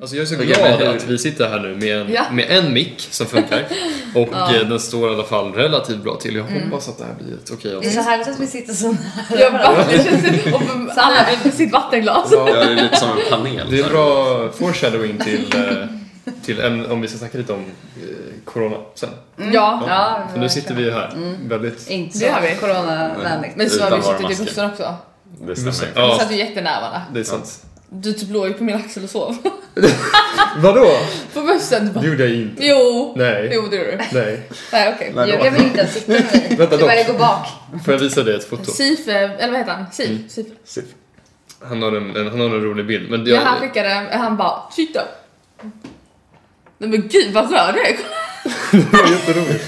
Alltså jag är så Okej, glad men hur? att vi sitter här nu med en, Ja. med en mick som funkar. Och Ja. eh, den står i alla fall relativt bra till. Jag hoppas att det här blir ett okej Det är så avsnitt. härligt att vi sitter så nära. Jag verkligen. Och alla med sitt vattenglas. Ja, det är lite som en panel. Det är bra foreshadowing till, eh, till ämne- om vi ska snacka lite om eh, corona sen. Mm. Ja. Ja, För nu sitter vi ju här. Väldigt... Inte Det har vi. så coronavänligt. Men så har Utan vi våra suttit i masker. bussen också. Det stämmer. Ja. Ja. Vi satt ju jättenära varandra. Det är sant. Du typ låg ju på min axel och sov. Vadå? På bussen. Du bara, Det gjorde jag inte. jo. Nej. Jo, det gjorde du. Nej. Nej, okej. Nej, Jag, jag vill inte ens sitta med dig. Vänta, Jag börjar dock. gå bak. Får jag visa dig ett foto? Sif, eh, eller vad heter han? Sif? Sif. Siff. Han har en, en, han har en rolig bild. Men Ja, han jag, skickade, han bara shit då. Nej men gud vad röd du är, kolla det var jätteroligt.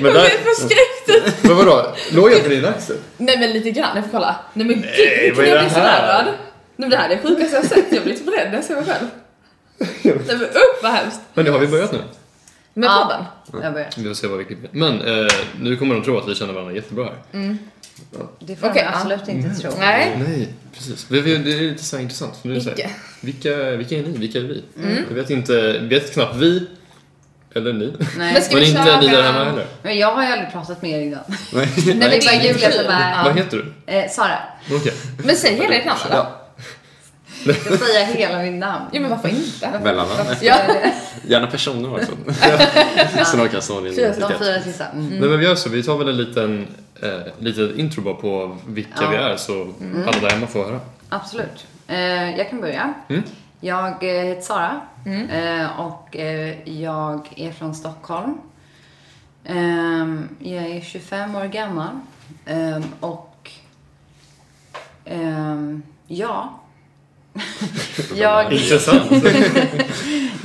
Men, jag där, blev förskräckt. men vadå? Låg jag på din axel? Nej men lite grann, jag får kolla. Nej men gud, hur vad kan är jag det bli här? sådär röd? Nej men det här är det sjukaste jag har sett, jag blir typ rädd när jag ser mig själv. Nej men upp vad hemskt. Men det har vi börjat nu. Med Ja. podden. Jag börjar. Vi får se vad vi klipper. Men eh, nu kommer de tro att vi känner varandra jättebra här. Det får Okej, man absolut inte tro. Nej. Nej, precis. Vi- vi- Det är lite så här intressant. För nu är det så här, Icke. vilka, vilka är ni? Vilka är vi? Jag vet inte, vet knappt vi. Eller ni. Men Nej. ska Men vi inte köra- ni där hemma heller. Men jag har ju aldrig pratat med er innan. Nej. Nej, det är bara det är Julia kul. som är... Vad heter du? Eh, Sara. Okej. Men säg hela ert namn då. Ja. Ska jag säga hela mitt namn? Eh, Ja men varför Mm. inte? Mellannamn. Ja. Gärna personer också. Så någon kan snå din De identitet. fyra sista. Mm. Nej men vi gör så, vi tar väl en liten, eh, liten intro bara på vilka Ja. vi är så alla där hemma får höra. Absolut. Eh, jag kan börja. Mm. Jag eh, heter Sara eh, och eh, jag är från Stockholm. Ehm, jag är 25 år gammal Ehm, och ehm, ja, jag, Intressant.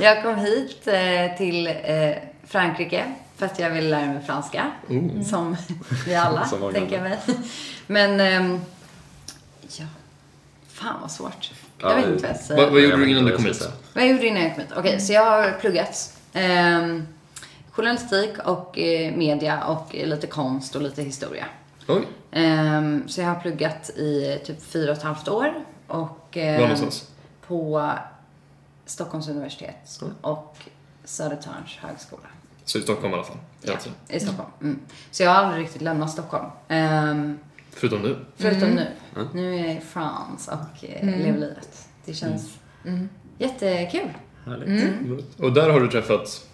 jag kom hit eh, till eh, Frankrike för att jag ville lära mig franska. Som vi alla, Som många tänker jag mig. Men ehm, ja, fan vad svårt. Ja, Jag vet det- inte vad jag ska säga. vad, vad gjorde Jag du vet innan du inte vad kom jag hit? ska Vad jag gjorde innan jag kom hit? Okej, så jag har pluggat ehm, journalistik och eh, media och eh, lite konst och lite historia. Oj, Ehm, så jag har pluggat i eh, typ fyra och ett halvt år. Och, ehm, var någonstans? På Stockholms universitet Mm. och Södertörns högskola. Så i Stockholm i alla fall. Ja, egentligen. I Stockholm. Mm. Så jag har aldrig riktigt lämnat Stockholm. Ehm, Förutom nu. Förutom nu. Mm. Nu är jag i France och eh, lever livet. Det känns Mm. jättekul. Härligt. Mm. Och där har du träffat,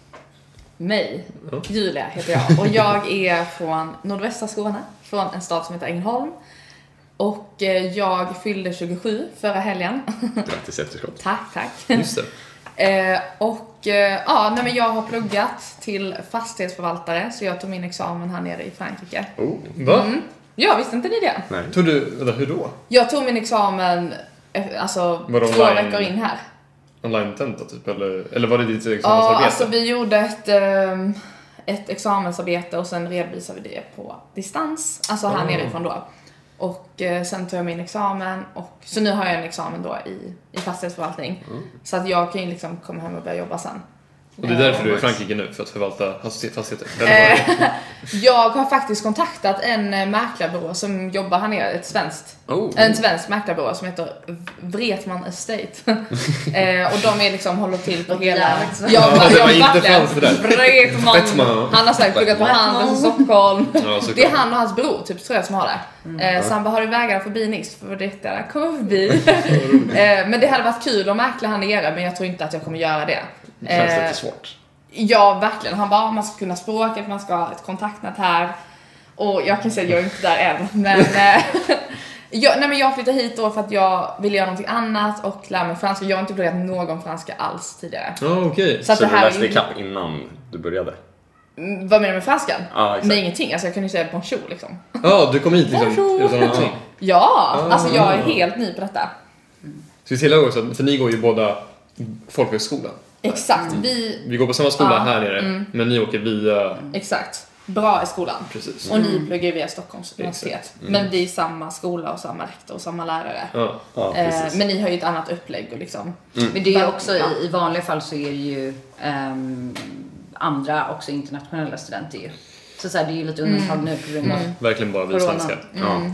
Mig, Ja. Julia heter jag och jag är från nordvästra Skåne, från en stad som heter Ängelholm. Och eh, jag fyllde 27 förra helgen. Grattis i efterskott. Tack, tack. just det. Eh, och eh, ja, nej, men jag har pluggat till fastighetsförvaltare så jag tog min examen här nere i Frankrike. Va? Ja, visste inte ni det? Nej. Tog du, vänta, hur då? Jag tog min examen eh, alltså Var det två online? veckor in här. Online-tenta typ, eller, eller var det ditt Ja, examensarbete? alltså vi gjorde ett, ehm, ett examensarbete och sen redovisade vi det på distans, alltså här Ah. nerifrån då. Och eh, sen tog jag min examen och så nu har jag en examen då i, i fastighetsförvaltning. Mm. Så att jag kan ju liksom komma hem och börja jobba sen. Och det är därför du är i Frankrike nu, för att förvalta fastighet- fastigheter. Eh, Jag har faktiskt kontaktat en eh, mäklarbyrå som jobbar här nere, ett svenskt, Oh. Mm. en svensk mäklarbyrå som heter V- Wretman Estate. eh, och de är liksom, håller till på Låter hela... jävligt svenskt. Jag, Ja, det var inte verkligen- franskt det där. Wretman. Wretman. Han har säkert pluggat på Handels i Stockholm. Ja, såklart. det är han och hans bror typ, tror jag som har det. Mm. Eh, så han bara, har du vägar förbi Nice? För det där, kom förbi. eh, men det hade varit kul att mäkla här nere men jag tror inte att jag kommer göra det. Känns Eh, lite svårt. Ja, verkligen. Han bara, man ska kunna språket, man ska ha ett kontaktnät här. Och jag kan säga, jag är inte där än, men... eh, jag, nej men jag flyttade hit då för att jag ville göra någonting annat och lära mig franska. Jag har inte pluggat någon franska alls tidigare. Ja, okej. Så, att Så det du här läste är ju, ikapp innan du började? Mm, Vad menar du med franskan? Ja, exakt. nej, ingenting. Alltså jag kunde ju säga bonjour liksom. Ja, du kom hit liksom Bonjour. utan någonting. Ja, Ah. alltså jag är helt ny på detta. Ska vi tillägga också, att- för ni går ju båda folkhögskolan. Exakt, Mm. vi... Vi går på samma skola Ja, Mm. här nere, men ni åker via... Exakt. Bra i skolan. Precis. Och ni pluggar ju via Stockholms universitet. Mm. Men det är samma skola och samma rektor och samma lärare. Ja. Ja, Eh, precis. men ni har ju ett annat upplägg och liksom. Men det är ju Fan, också, ja. i, i vanliga fall så är det ju ehm, andra, också internationella studenter ju. Så, så här, det är ju lite undantag nu på grund av... Verkligen bara vi Corona. svenskar. Ja. Ja.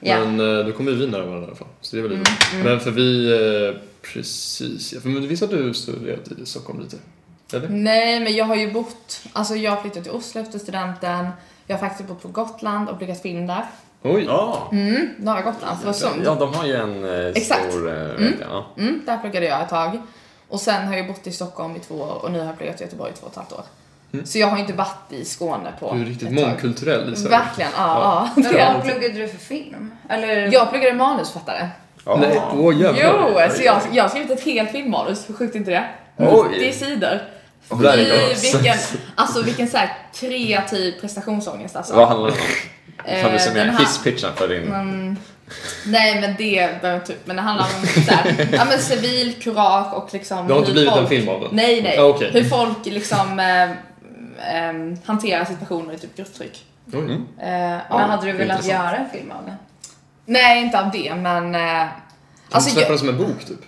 Ja. Mm, Men eh, då kommer vi nära varandra i alla fall. Så det är väl mm. Men för vi eh, Precis, ja. Men visst har du studerat i Stockholm lite? Mm. Eller? Nej, men jag har ju bott, alltså jag flyttade till Oslo efter studenten. Jag har faktiskt bott på Gotland och pluggat film där. Oj! Ja, Mm, norra Gotland. Så det var så, ja, de har ju en eh, Exakt. stor... Eh, verkligen, ja. Mm, där pluggade jag ett tag. Och sen har jag bott i Stockholm i två år och nu har jag pluggat i Göteborg i två och ett halvt år. Så jag har inte varit i Skåne på Mm. Du är riktigt ett tag. mångkulturell i Sverige. Verkligen, ja. ja. Men vad pluggade du för film? Eller? Jag pluggade manusförfattare. Ja. Nej, åh jävlar. Jo, så jag, jag har skrivit ett helt filmmanus, sjukt inte det? Oj. 90 sidor. I Verkligen. vilken, alltså vilken så här kreativ prestationsångest alltså. Vad handlar det om? Kan du Eh, den summera här- Mm. hisspitchen för din... Nej men det behöver inte, men det handlar om så här, ja men civil kurage och liksom Det har inte hur blivit folk- en film av den? Nej nej, Ah, okej. hur folk liksom eh, eh, hanterar situationer i typ grupptryck. Oj. Eh, Men ja. hade du velat intressant. göra en film av det? Nej inte av det men eh, Alltså, alltså, släpper jag, den som en bok typ?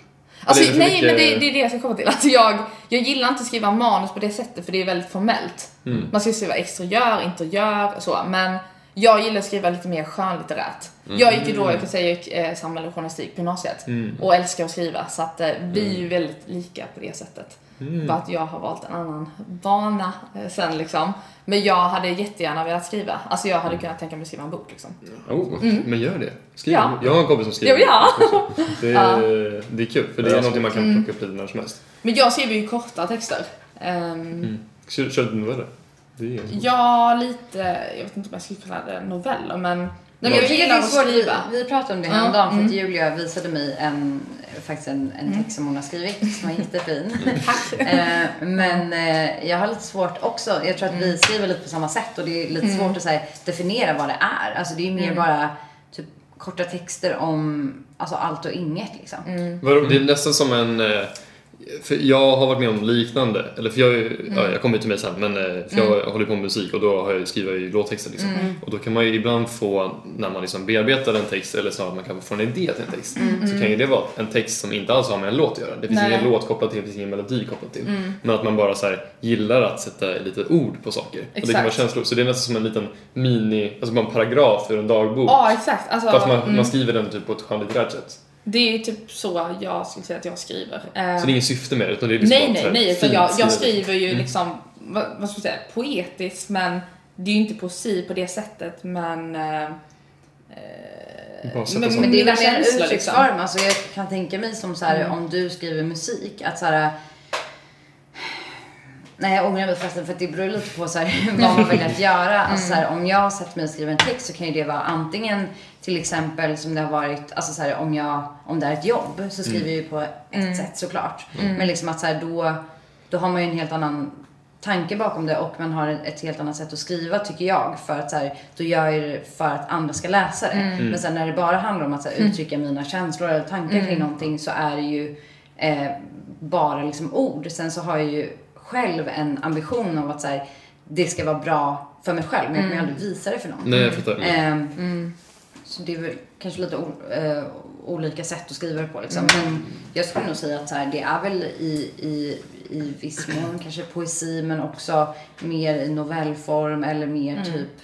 alltså Eller är det för nej men det, mycket- det är det jag ska komma till. Alltså, jag, jag gillar inte att skriva manus på det sättet för det är väldigt formellt. Mm. Man ska skriva exteriör, interiör och så men jag gillar att skriva lite mer skönlitterärt. Mm. Jag gick ju då, jag kan säga, jag gick eh, samhälle och journalistik på gymnasiet och älskar att skriva så att eh, vi Mm. är ju väldigt lika på det sättet. Bara att jag har valt en annan bana eh, sen liksom. Men jag hade jättegärna velat skriva. Alltså jag Mm. hade kunnat tänka mig att skriva en bok liksom. Oh. Men gör det. Skriv. Ja. Jag har en kompis som skriver. Jo, ja. Mm. också. Det, är, det är kul, för det är Ja. någonting man kan plocka upp lite när som helst. Men jag skriver ju korta texter. Mm. Ehm, Kör, kör du noveller? Det är ju- Ja, lite, jag vet inte om jag skulle kalla det noveller men... Nej, men Jag jag tycker det gillar är att svårt. Vi, skriva. vi pratade om det Ja, mm. häromdagen för att Julia visade mig en, faktiskt en, en text som hon har skrivit som är jättefin. Eh, Men eh, jag har lite svårt också. Jag tror att Mm. vi skriver lite på samma sätt och det är lite svårt att så här, definiera vad det är. Alltså det är Mm. mer bara typ, korta texter om alltså, allt och inget liksom. Mm. Vadå, Det är nästan som en... eh, För jag har varit med om liknande. Eller för jag, är ju- ja, Mm. jag kommer ju till mig sen, men eh, för jag håller på med musik och då har jag, ju- skriver jag ju låttexter. Liksom. Mm. Och då kan man ju ibland få, när man liksom bearbetar en text, eller snarare man kan få en idé till en text, så kan ju det vara en text som inte alls har med en låt att göra. Det finns Mm. Nej. Mm. ingen låt kopplad till, det finns ingen melodi kopplad till. Men att man bara så här, gillar att sätta lite ord på saker. Och det kan vara Exakt. känslor. Så det är nästan som en liten mini, alltså bara en paragraf ur en dagbok. Ja, exakt. Alltså, Fast man, mm, man skriver den typ på ett skönlitterärt sätt. det är typ så jag skulle säga att jag skriver. Ehm, Så det är inget syfte med det? Utan det är liksom nej, bara så nej, här nej. Utan fint Mm. jag, jag skrivet. skriver ju liksom, vad, vad ska jag säga, poetiskt men det är ju inte poesi på det sättet men... eh, Bara sätta men- sånt. men- Men det är Mina väl en känslor, liksom. Mm. uttrycksform. Alltså jag kan tänka mig som så här, om du skriver musik, att så här. Nej jag ångrar mig förresten för att det beror lite på så här, vad man väljer att göra. Alltså, så här, om jag sätter mig och skriver en text så kan ju det vara antingen till exempel som det har varit, alltså så här, om, jag, om det är ett jobb så skriver jag ju på ett sätt såklart. Men liksom att så här, då, då har man ju en helt annan tanke bakom det och man har ett helt annat sätt att skriva tycker jag. För att så här, då gör jag det för att andra ska läsa det. Men sen när det bara handlar om att så här, uttrycka mina känslor eller tankar kring någonting så är det ju eh, bara liksom ord. Sen så har jag ju själv en ambition om att så här, det ska vara bra för mig själv men jag kommer ju aldrig visa det för någon. Nej, jag fattar. Mm. Ehm, Så det är väl kanske lite o- eh, olika sätt att skriva det på. Liksom. Men jag skulle nog säga att så här, det är väl i, i, i viss mån kanske poesi men också mer i novellform eller mer typ.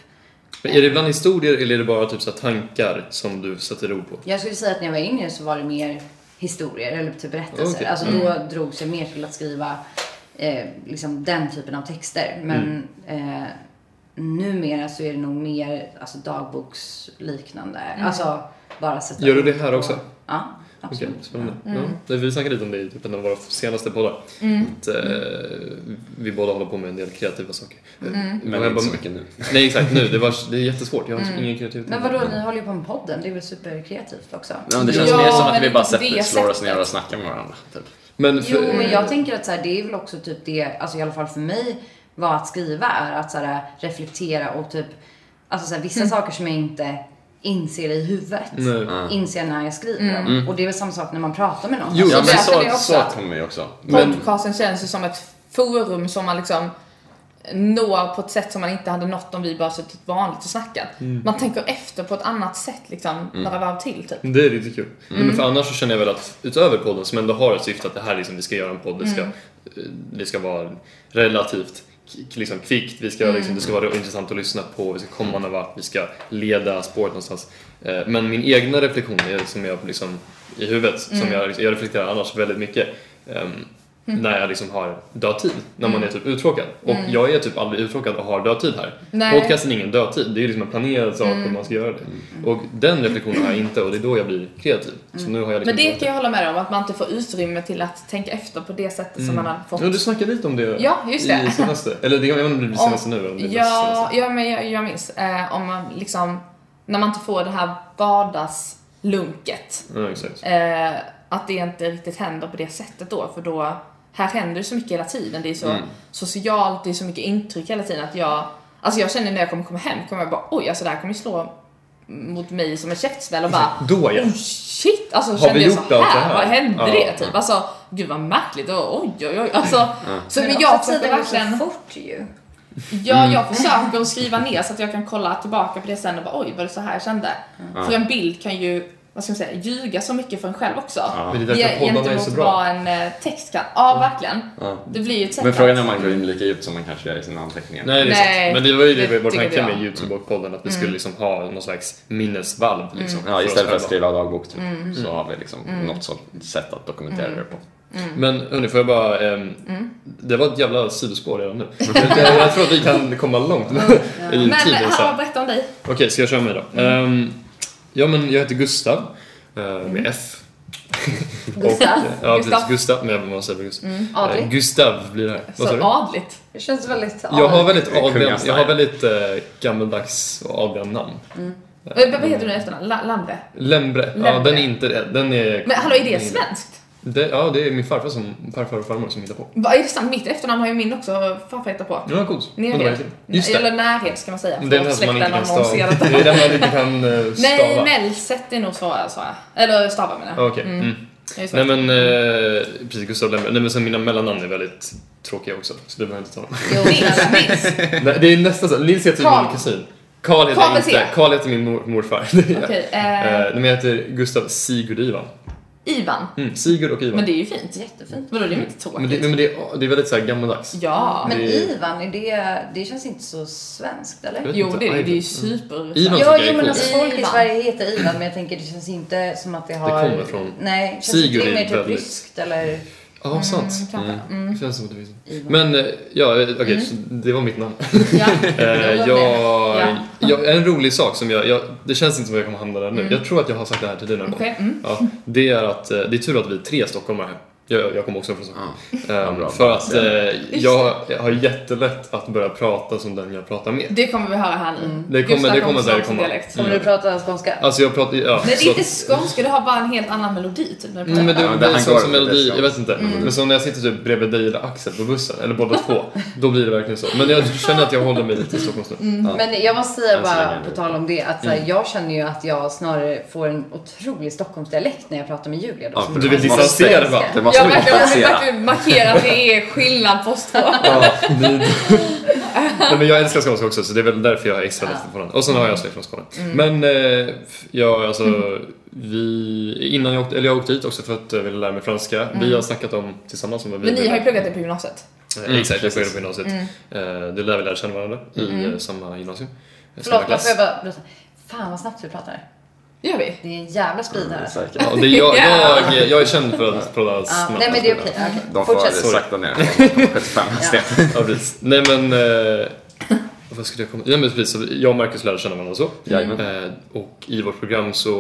Men är det ibland historier eller är det bara typ så här tankar som du sätter ord på? Jag skulle säga att när jag var yngre så var det mer historier eller typ berättelser. Okej. Mm. Alltså då drogs jag mer till att skriva eh, liksom den typen av texter. Men Mm. eh, numera så är det nog mer alltså, dagboksliknande. Alltså bara sätta Gör du ord det här på- också? Ja, Okej, absolut. Mm. spännande. Ja. Nej, Vi snackade lite om det i typ en av våra senaste poddar. Mm. Att, eh, vi båda håller på med en del kreativa saker. Mm. Men inte så mycket nu. Nej, exakt nu. Det, var, det är jättesvårt. Jag har Mm. ingen kreativitet. Men vadå, ni håller ju på med podden. Det är väl superkreativt också? Ja, men det känns Ja, mer som att men vi det- bara det sätter, slår oss ner sättet. och snackar med varandra. Typ. Men för, Jo, men jag tänker att så här, det är väl också typ det, alltså i alla fall för mig, vad att skriva är att så här, reflektera och typ, alltså så här, vissa saker som jag inte inser i huvudet, Nej. inser när jag skriver dem. Och det är väl samma sak när man pratar med någon. Alltså, Jo, ja, så men läser så, vi också. så kommer vi också. Men, Podcasten känns ju som ett forum som man liksom når på ett sätt som man inte hade nått om vi bara suttit vanligt och snackat. Mm. Man tänker efter på ett annat sätt liksom, några varv till typ. Det är riktigt kul. Nej, Men för annars så känner jag väl att utöver podden som ändå har ett syfte att det här liksom, vi ska göra en podd, det ska, eh, det ska vara relativt k- liksom kvickt, vi ska, liksom, det ska vara intressant att lyssna på, vi ska komma någon vart, vi ska leda spåret någonstans. Eh, Men min egna reflektion är, som jag liksom, i huvudet, som jag, jag reflekterar annars väldigt mycket, ehm, när jag liksom har dödtid, när Mm. man är typ uttråkad. Och jag är typ aldrig uttråkad och har dödtid här. Nej. Mm. Podcasten är ingen dödtid, det är liksom en planerad sak och man ska göra det. Och den reflektionen har jag inte och det är då jag blir kreativ. Så nu har jag liksom Mm. Men det kan jag hålla med om, att man inte får utrymme till att tänka efter på det sättet som man har fått. Ja, du snackade lite om det Ja, just det. i senaste. Eller det, jag vet inte om det blir Om- senaste nu eller om det blir Ja, senaste. ja men jag, jag minns. Eh, om man liksom, när man inte får det här vardagslunket. Ja, exakt. Eh, att det inte riktigt händer på det sättet då, för då, här händer det så mycket hela tiden. Det är så socialt, det är så mycket intryck hela tiden att jag, alltså jag känner när jag kommer komma hem, kommer jag bara oj, alltså det här kommer ju slå mot mig som en käftsmäll och bara Då ja. oh shit, alltså Har kände vi jag gjort så allt det här, här? vad hände Ja. det typ? Alltså gud vad märkligt och oj oj oj, alltså. Så men jag också att det försöker går så verkligen fort ju. Ja, jag försöker att skriva ner så att jag kan kolla tillbaka på det sen och bara oj, var det så här jag kände? För en bild kan ju, vad ska man säga, ljuga så mycket för en själv också. Ja. Men det är därför poddarna är så bra. Mm. vad en eh, text kan. Ja, verkligen. Ja. Det blir ju ett sätt Men frågan är att- om man går in lika djupt som man kanske gör i sina anteckningar. Nej, det är sant. Nej, Men det var ju det det, vår tycker tanke jag. Mm. med Youtube och podden, att vi skulle liksom ha någon slags minnesvalv. Liksom, Ja, istället för att oss själva. skriva dagbok typ, Mm. så har vi liksom något sånt sätt att dokumentera det på. Men hörni, får jag bara... ehm, Mm. Det var ett jävla sidospår redan nu. jag, jag tror att vi kan komma långt i Men eh, tiden sen. Mm. ja, berätta om dig. Okej, ska jag köra mig då? Ehm, ja, men jag heter Gustav, eh, med F. Gustav. Och, eh, ja, Gustav. Mm. precis. Gustav, men jag vet vad man säger för Gustav. Adlig. Eh, Gustav blir det här. Vad sa Så du? adligt. Det känns väldigt Jag har väldigt, Det är adliga, kungastyle. jag har väldigt eh, gammaldags och adliga namn. Eh, Vad heter du nu i efternamn? La- Lambe? Lembre, ja Lembre. den är inte det. Den är... Men hallå, är det den- svenskt? Det, ja, det är min farfar, som, farfar och farmor som hittar på. Va, är det sant? Mitt efternamn har ju min också farfar hittat på. Ja, vad coolt. Undrar vad det Nerhed. heter. Just det. Eller närhed ska man säga. Det är den Förlåt, här som man inte släkten kan om någon stava. ser detta. Det är den man inte kan eh, Nej, stava. Melset är nog svårare sa jag. Eller stava menar jag. Okej. Mm. Det är svårt. Nej men, eh, precis Gustav Lembre. Nej men sen mina mellannamn är väldigt tråkiga också, så det behöver jag inte ta dem. Jo, Nils, Nils. Nej, det är nästan så. Nils heter Carl. ju min kusin. Karl heter jag Carl med inte. C. Karl heter min mor, morfar. Det är jag. Okej, Eh, eh, nej, men jag heter Gustav Sigurd Ivan. Ivan. Mm, Sigurd och Ivan. Men det är ju fint. jättefint. Vadå, det är väl inte Men det, tråkigt? men det, är, det är väldigt så här gammaldags. Ja. Men Det- Ivan, är det, det känns inte så svenskt eller? vet Jo, inte. det, det är ju Mm. super... Ivan tycker Ja, jo, jag är men cool. alltså folk i Ivan. Sverige heter Ivan, men jag tänker det känns inte som att det har... kommer från- Nej, känns Sigurd inte det är mer typ väldigt- ryskt eller... Ja, sant. kanske. Mm. Känns som att det finns. Ivan. Men, eh, ja, eh, okej, Mm. så det var mitt namn. Ja. Eh, var jag, Ja. Mm. jag, en rolig sak som jag, jag, det känns inte som att jag kommer hamna där nu. Jag tror att jag har sagt det här till dig någon gång. Okej, mm. Ja, det är att, eh, det är tur att vi är tre stockholmare här. Jag, jag kommer också från Stockholm. Ehm, bra. för att eh, jag har jättelätt att börja prata som den jag pratar med. Det kommer vi höra här nu. Mm. Det kommer- Gustav det kommer snart där som komma. dialekt. Om du pratar skånska? Alltså jag pratar Mm. ja, Nej, det är så- inte skånska, du har bara en helt annan melodi typ. När du Nej, men det, det Ja, är han en går sån som lite melodi, så. jag vet inte. Mm. Men som när jag sitter typ bredvid dig eller Axel på bussen, eller båda två, då blir det verkligen så. Men jag känner att jag håller mig lite i Stockholms nu. Men jag måste säga Än så bara, länge. på tal om det, att så här, Mm. jag känner ju att jag snarare får en otrolig Stockholmsdialekt när jag pratar med Julia. Då, Ja, som för Du vill Det måste- distansera va? Det Jag måste vill vi kompensera. verkligen- verkligen markera att det är skillnad på oss två. Ja, ni- Nej, men jag älskar skånska också så det är väl därför jag är extra lätt på den. Och sen Mm. har jag släkt från Skåne. Men eh, jag, alltså, vi, innan jag åkte, eller jag åkte hit också för att jag ville lära mig franska. Mm. Vi har snackat om tillsammans om vad vi Men ni ville- har ju pluggat det på gymnasiet. Eh, Mm, Exakt, jag pluggade precis. på gymnasiet. Eh, det lär vi lära känna varandra i eh, samma gymnasium. Samma Mm. Förlåt, men klass. får jag bara berätta? Fan vad snabbt du pratar. Det gör vi. Det är en jävla speed här. alltså. Säkert. Ja, det är jag, jag, jag är känd för att Mm. prata Ja, snabbt. nej men det är okej. okej. De får Fortsätt. Sorry. sakta ner från 75 hastighet. Ja, precis. Nej men... Eh, vad skulle jag komma... Nej men precis, så jag och Marcus lärde känna varandra så. Jajamän. Eh, och i vårt program så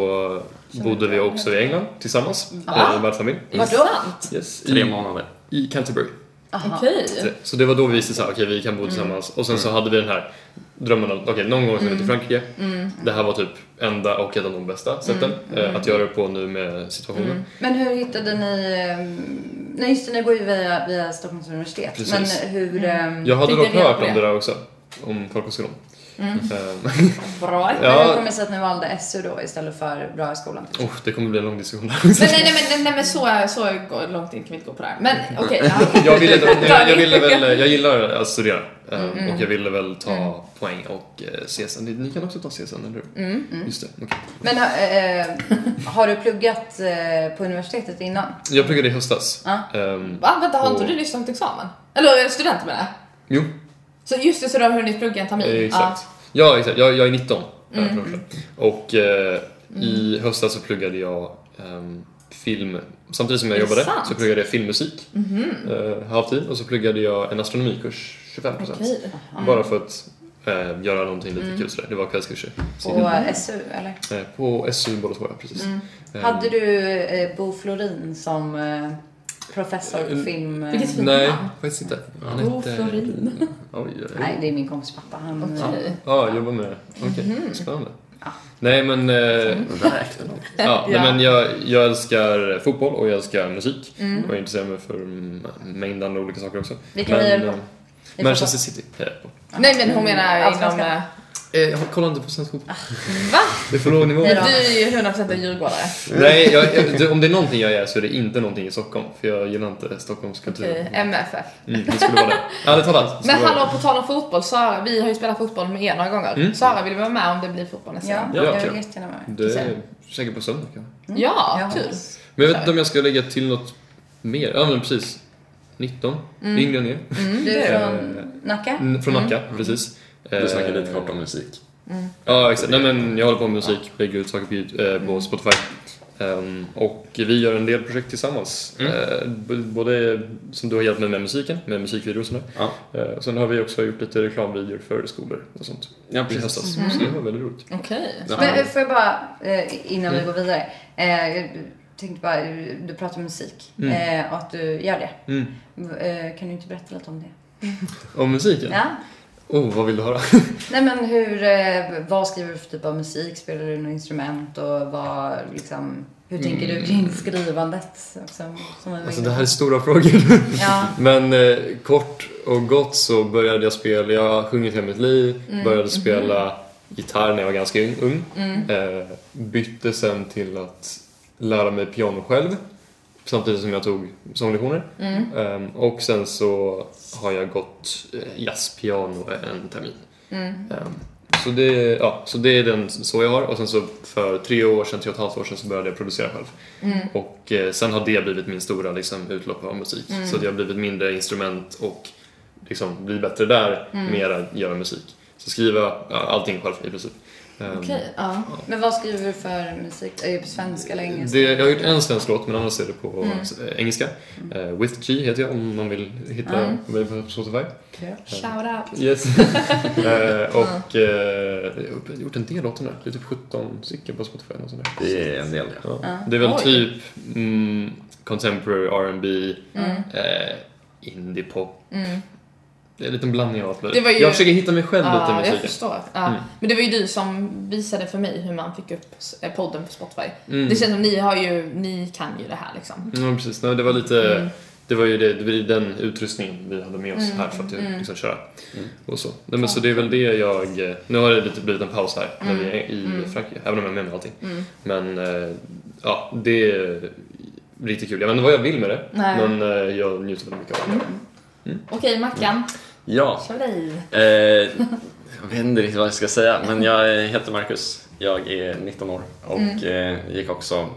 bodde vi också i England tillsammans. Mm. Ah. Ah. En värdfamilj. Vadå? Sant. Yes, Tre i, månader. I Canterbury. Aha. Okej. Så det var då vi visste såhär, okej vi kan Mm. bo tillsammans. Och sen så hade vi den här drömmen om, okej någon gång ska vi till Mm. Frankrike. Det här var typ enda och ett av de bästa sätten Mm. eh, att göra det på nu med situationen. Men hur hittade ni... ehm, Nej just det, ni går ju via, via Stockholms universitet. Precis. Men hur... Mm. ehm, Jag hade Fick dock ni reda hört om på det? Mm. det där också. Om folkhögskolan. Eh, Bra. Ja. Men hur kommer det sig att ni valde SU då istället för Bra i skolan? till exempel? Oh, det kommer bli en lång diskussion där. Men nej, nej, men, nej, nej, men så, så går- långt in kan vi inte gå på det här. Men okej. ja. Mm. Jag ville, jag, jag ville väl, jag gillar att studera eh, Mm. och jag ville väl ta poäng och eh, CSN. Ni, ni kan också ta CSN, eller hur? Mm, Just det, okej. Men eh, har du pluggat eh, på universitetet innan? Jag pluggade i höstas. Ja. Ehm, Ah. Va? Vänta, har inte Och- du lyssnat till examen? Eller student menar jag. jo, Så just det, så du har hunnit plugga en termin? Eh, Exakt. Ja, exakt. Jag, jag är 19. Mm, eh, för det första. Och eh, i höstas så pluggade jag ehm, film. Samtidigt som jag Är det jobbade sant? Mm. så pluggade jag filmmusik Mhm. eh, halvtid och så pluggade jag en astronomikurs 25 Ja. procent. Okej. Ah. Mm. Bara för att eh, göra någonting lite kul sådär. Det var kvällskurser. På eh, SU eller? Eh, på SU båda två, ja, precis. Mm, Eh, Hade du eh, Bo Florin som eh, professor i Eh, film? eh, Vilket fint Nej, namn. faktiskt inte. Han Bo Florin. Oj, oj, oj. Nej, det är min kompis pappa. Han, Okej. eh, Ja, jobbar med det. Okej, Mhm. spännande. Nej men, eh, Räkna dem. ja, Ja. Nej, men jag, jag älskar fotboll och jag älskar musik. Mm. Och jag intresserar mig för m- mängd andra olika saker också. Vilka hejar du på? eh, I Manchester City hejar jag på. Nej men hon menar Mm, inom... allsvenskan. eh, Eh, Jag kollar inte på svensk fotboll. Ah. Va? Det är för låg nivå. Nej då. Du är ju 100% en djurgårdare. Nej, jag, jag, det- om det är någonting jag är så är det inte någonting i Stockholm. För jag gillar inte Stockholms kultur. Okej, MFF. Mm, det skulle vara det. Ärligt talat. det Men skulle vara hallå, på tal om fotboll, Sara, vi har ju spelat fotboll med er några gånger. Mm. Sara, vill du vara med om det blir fotboll nästa Ja, gång? Ja, jag kul. vill jättegärna vara med. det. Det är säkert på söndag kanske. Ja, Ja. kul. Men jag vet inte om jag ska lägga till något mer. Ja men precis. 19. Mm. Yngre än er. Du är Eh, från Nacka? Mm, Från Nacka, precis. Du snackade Eh, lite kort om musik. Ja, exakt. Nej, men jag håller på med musik, lägger ut saker på, YouTube, eh, på Spotify. Ehm, och vi gör en del projekt tillsammans. Eh, b- både som du har hjälpt mig med musiken, med musikvideor och sådär. Ja, Eh, och sen har vi också gjort lite reklamvideor för skolor och sånt ja i precis. höstas. Så det var väldigt roligt. Okej. Ja. Men eh, får jag bara, eh, innan Mm. vi går vidare. Eh, jag tänkte bara, du pratar om musik eh, och att du gör det. Mm. Eh, kan du inte berätta lite om det? Och musiken? Ja. Oh, vad vill du höra? Nej men hur, eh, vad skriver du för typ av musik? Spelar du något instrument? Och vad, liksom, hur tänker du kring skrivandet? Också, som en Mm. Alltså det här är stora frågor. Ja. Men eh, kort och gott så började jag spela, jag har sjungit hela mitt liv, började spela gitarr när jag var ganska ung. ung. Eh, bytte sen till att lära mig piano själv samtidigt som jag tog sånglektioner. Eh, och sen så har jag gått eh, jazzpiano en termin. Eh, så det, ja, så det är den så jag har och sen så för tre år sedan, tre och ett halvt år sedan så började jag producera själv. Mm. Och eh, sen har det blivit min stora liksom, utlopp av musik. Mm. Så att jag har blivit mindre instrument och liksom, blir bättre där, Mm. mer att göra musik. Så skriva ja, allting själv i princip. Ehm, Okej, ja. Men vad skriver du för musik? Är det på svenska eller engelska? Mm. det, jag har gjort en svensk låt men annars är det på eh, engelska. Eh, With G heter jag om man vill hitta Mm. mig på Spotify. Shout out. Yes. Eh, och eh, jag har gjort en del låtar nu. Det är typ 17 stycken på Spotify. Och sånt där. Det är en del, ja. Ja. Det är väl Oj. typ mm, contemporary R&B, Mm. Mm. eh, indiepop. Det är en liten blandning av allt Det var möjligt. ju- Jag försöker hitta mig själv lite i Ja, jag musiken. förstår. Ja. Mm. Men det var ju du som visade för mig hur man fick upp s- eh, podden på Spotify. Det Mm. känns som ni har ju, ni kan ju det här liksom. Mm. Ja, precis. Nej, det var lite... Mm. Mm. Det var ju det, det var ju den utrustningen vi hade med oss här för att mm. liksom, köra. Mm. Och så. Nej, men, så det är väl det jag... Nu har det lite blivit en paus här när Mm, vi är i Frankrike, även om jag är med mig allting. Men eh, ja, det är riktigt kul. Jag vet inte vad jag vill med det, Nej. Mm, men eh, jag njuter väldigt mycket av det. Okej, Mackan. Ja, Kör dig. eh, jag vet inte riktigt vad jag ska säga, men jag heter Marcus. Jag är 19 år och eh, gick också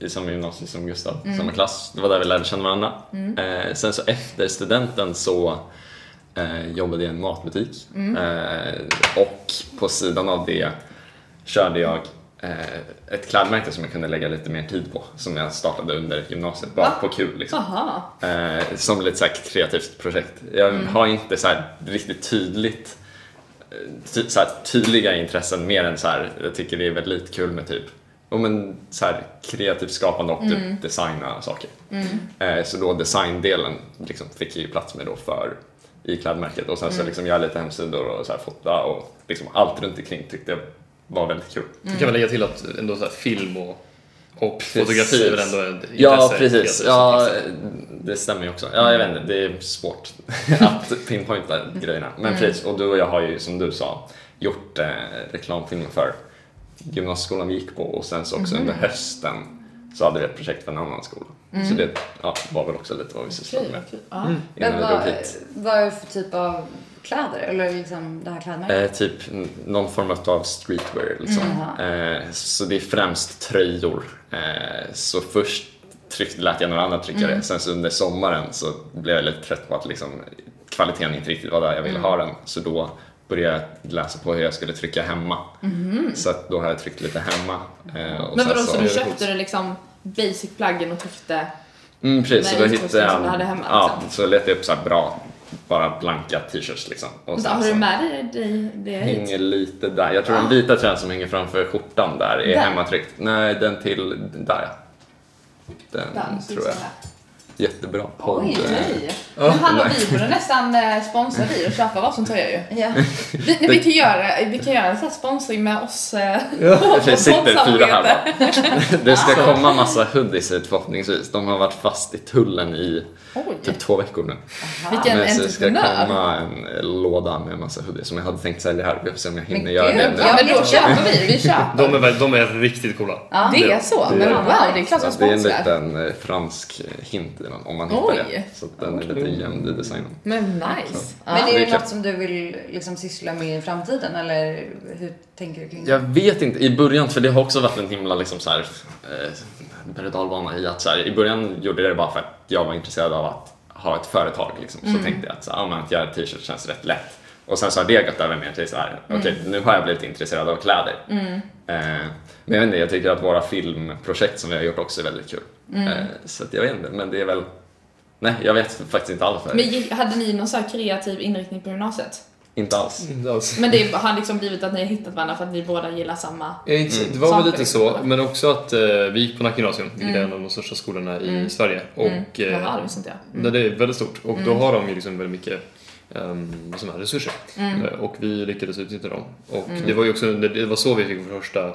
i samma gymnasium som Gustav, samma klass. Det var där vi lärde känna varandra. Eh, sen så efter studenten så eh, jobbade jag i en matbutik eh, och på sidan av det körde jag eh, ett klädmärke som jag kunde lägga lite mer tid på, som jag startade under gymnasiet, bara på kul liksom. Aha. Eh, som lite så här kreativt projekt. Jag har inte så här riktigt tydligt eh, ty, så här tydliga intressen mer än så här, jag tycker det är väldigt kul med typ ja, men så här kreativt skapande och typ designa saker. Mm. Eh, så då designdelen liksom fick jag ju plats med då för i klädmärket och sen så liksom jag lite hemsidor och så här fota och liksom allt runt omkring tyckte jag var väldigt kul. Mm. Kan man lägga till att ändå så här, film och, och Precis. fotografi är väl ändå ett intresse? Ja, precis. kreativt. Ja, det stämmer ju också. Ja, jag vet inte, det är svårt att pinpointa grejerna. Men Mm. precis, och du och jag har ju som du sa gjort eh, reklamfilmer för gymnasieskolan vi gick på och sen så också Mhm. under hösten så hade vi ett projekt för en annan skola. Mm. Så det Mm. ja, var väl också lite vad vi sysslade med Mm. Okej, okej. Ja. innan Men vi drog vad, hit. vad är det för typ av kläder? Eller liksom det här klädmärket? Eh, typ n- någon form av streetwear Mm. liksom. Eh, så det är främst tröjor. Eh, så först Mm. tryck, lät jag några andra trycka det, sen så under sommaren så blev jag lite trött på att liksom kvaliteten inte riktigt var där jag ville ha Mm. den. Så då började jag läsa på hur jag skulle trycka hemma. Så att då har jag tryckt lite hemma. Eh, och Mm. Mm-hmm. Men sen vadå, så du så- köpte du liksom basic pluggen och tryckte Mm, precis, så Nej, då utrustning hittade som du hade jag, hemma, ja, liksom. så letade jag upp så här bra, bara blanka t-shirts liksom. Och sen Har du så med dig det hit? hänger lite där. Jag tror den vita tröjan som hänger framför skjortan där är Där? hemmatryckt. Nej, den till där ja. Den, Den, tror jag. så här. Jättebra podd. Eh, Oj, nej. Men han och vi borde nästan eh, sponsra vi och köpa varsin tröja ju. Ja. Vi, nej, vi kan göra, vi kan göra en sån här sponsring med oss. eh, I och för sig sitter fyra här poddsamarbete. va? Det ska komma massa hoodies hit förhoppningsvis. De har varit fast i tullen i Oj, typ två veckor nu. vilken Men så det ska entreprenör. komma en eh, låda med massa hoodies som jag hade tänkt sälja här. Vi får se om jag hinner Men göra gud, det nu. Ja, men då köper vi, vi köper. De är, väl- de är riktigt coola. Ja. Det är så, men wow, det är klart Så som att det är en sponsrar. liten eh, fransk hint i den om man hittar Oj. det. Så att den är lite gömd i designen. Men nice. Men Ja. är det Verkligen. något som du vill liksom syssla med i framtiden eller hur tänker du kring det? Jag vet inte, i början, för det har också varit en himla liksom så här, eh, berg och dalbana i att så här, i början gjorde jag det bara för att jag var intresserad av att ha ett företag liksom. Så tänkte jag att, så, här, ah, men att göra t-shirts känns rätt lätt. Och sen så har det gått över mer till så här, okej nu har jag blivit intresserad av kläder. Mm. Eh, men jag vet inte, jag tycker att våra filmprojekt som vi har gjort också är väldigt kul. Eh, så att jag vet inte, men det är väl, nej jag vet faktiskt inte alls. Men gill- hade ni någon så här kreativ inriktning på gymnasiet? Inte alls. Inte alls. Men det har liksom blivit att ni har hittat varandra för att ni båda gillar samma... Ja, ex- Det var väl Mm. Saker. lite så, men också att eh, vi gick på Nacka gymnasium, vilket är en av de största skolorna i Sverige. Och, eh, Jaha, Mm. det visste inte jag. Mm. Nej, det är väldigt stort och då har de ju liksom väldigt mycket um, som är resurser Mm. Eh, och vi lyckades utnyttja dem. Och det var ju också det det var så vi fick vår första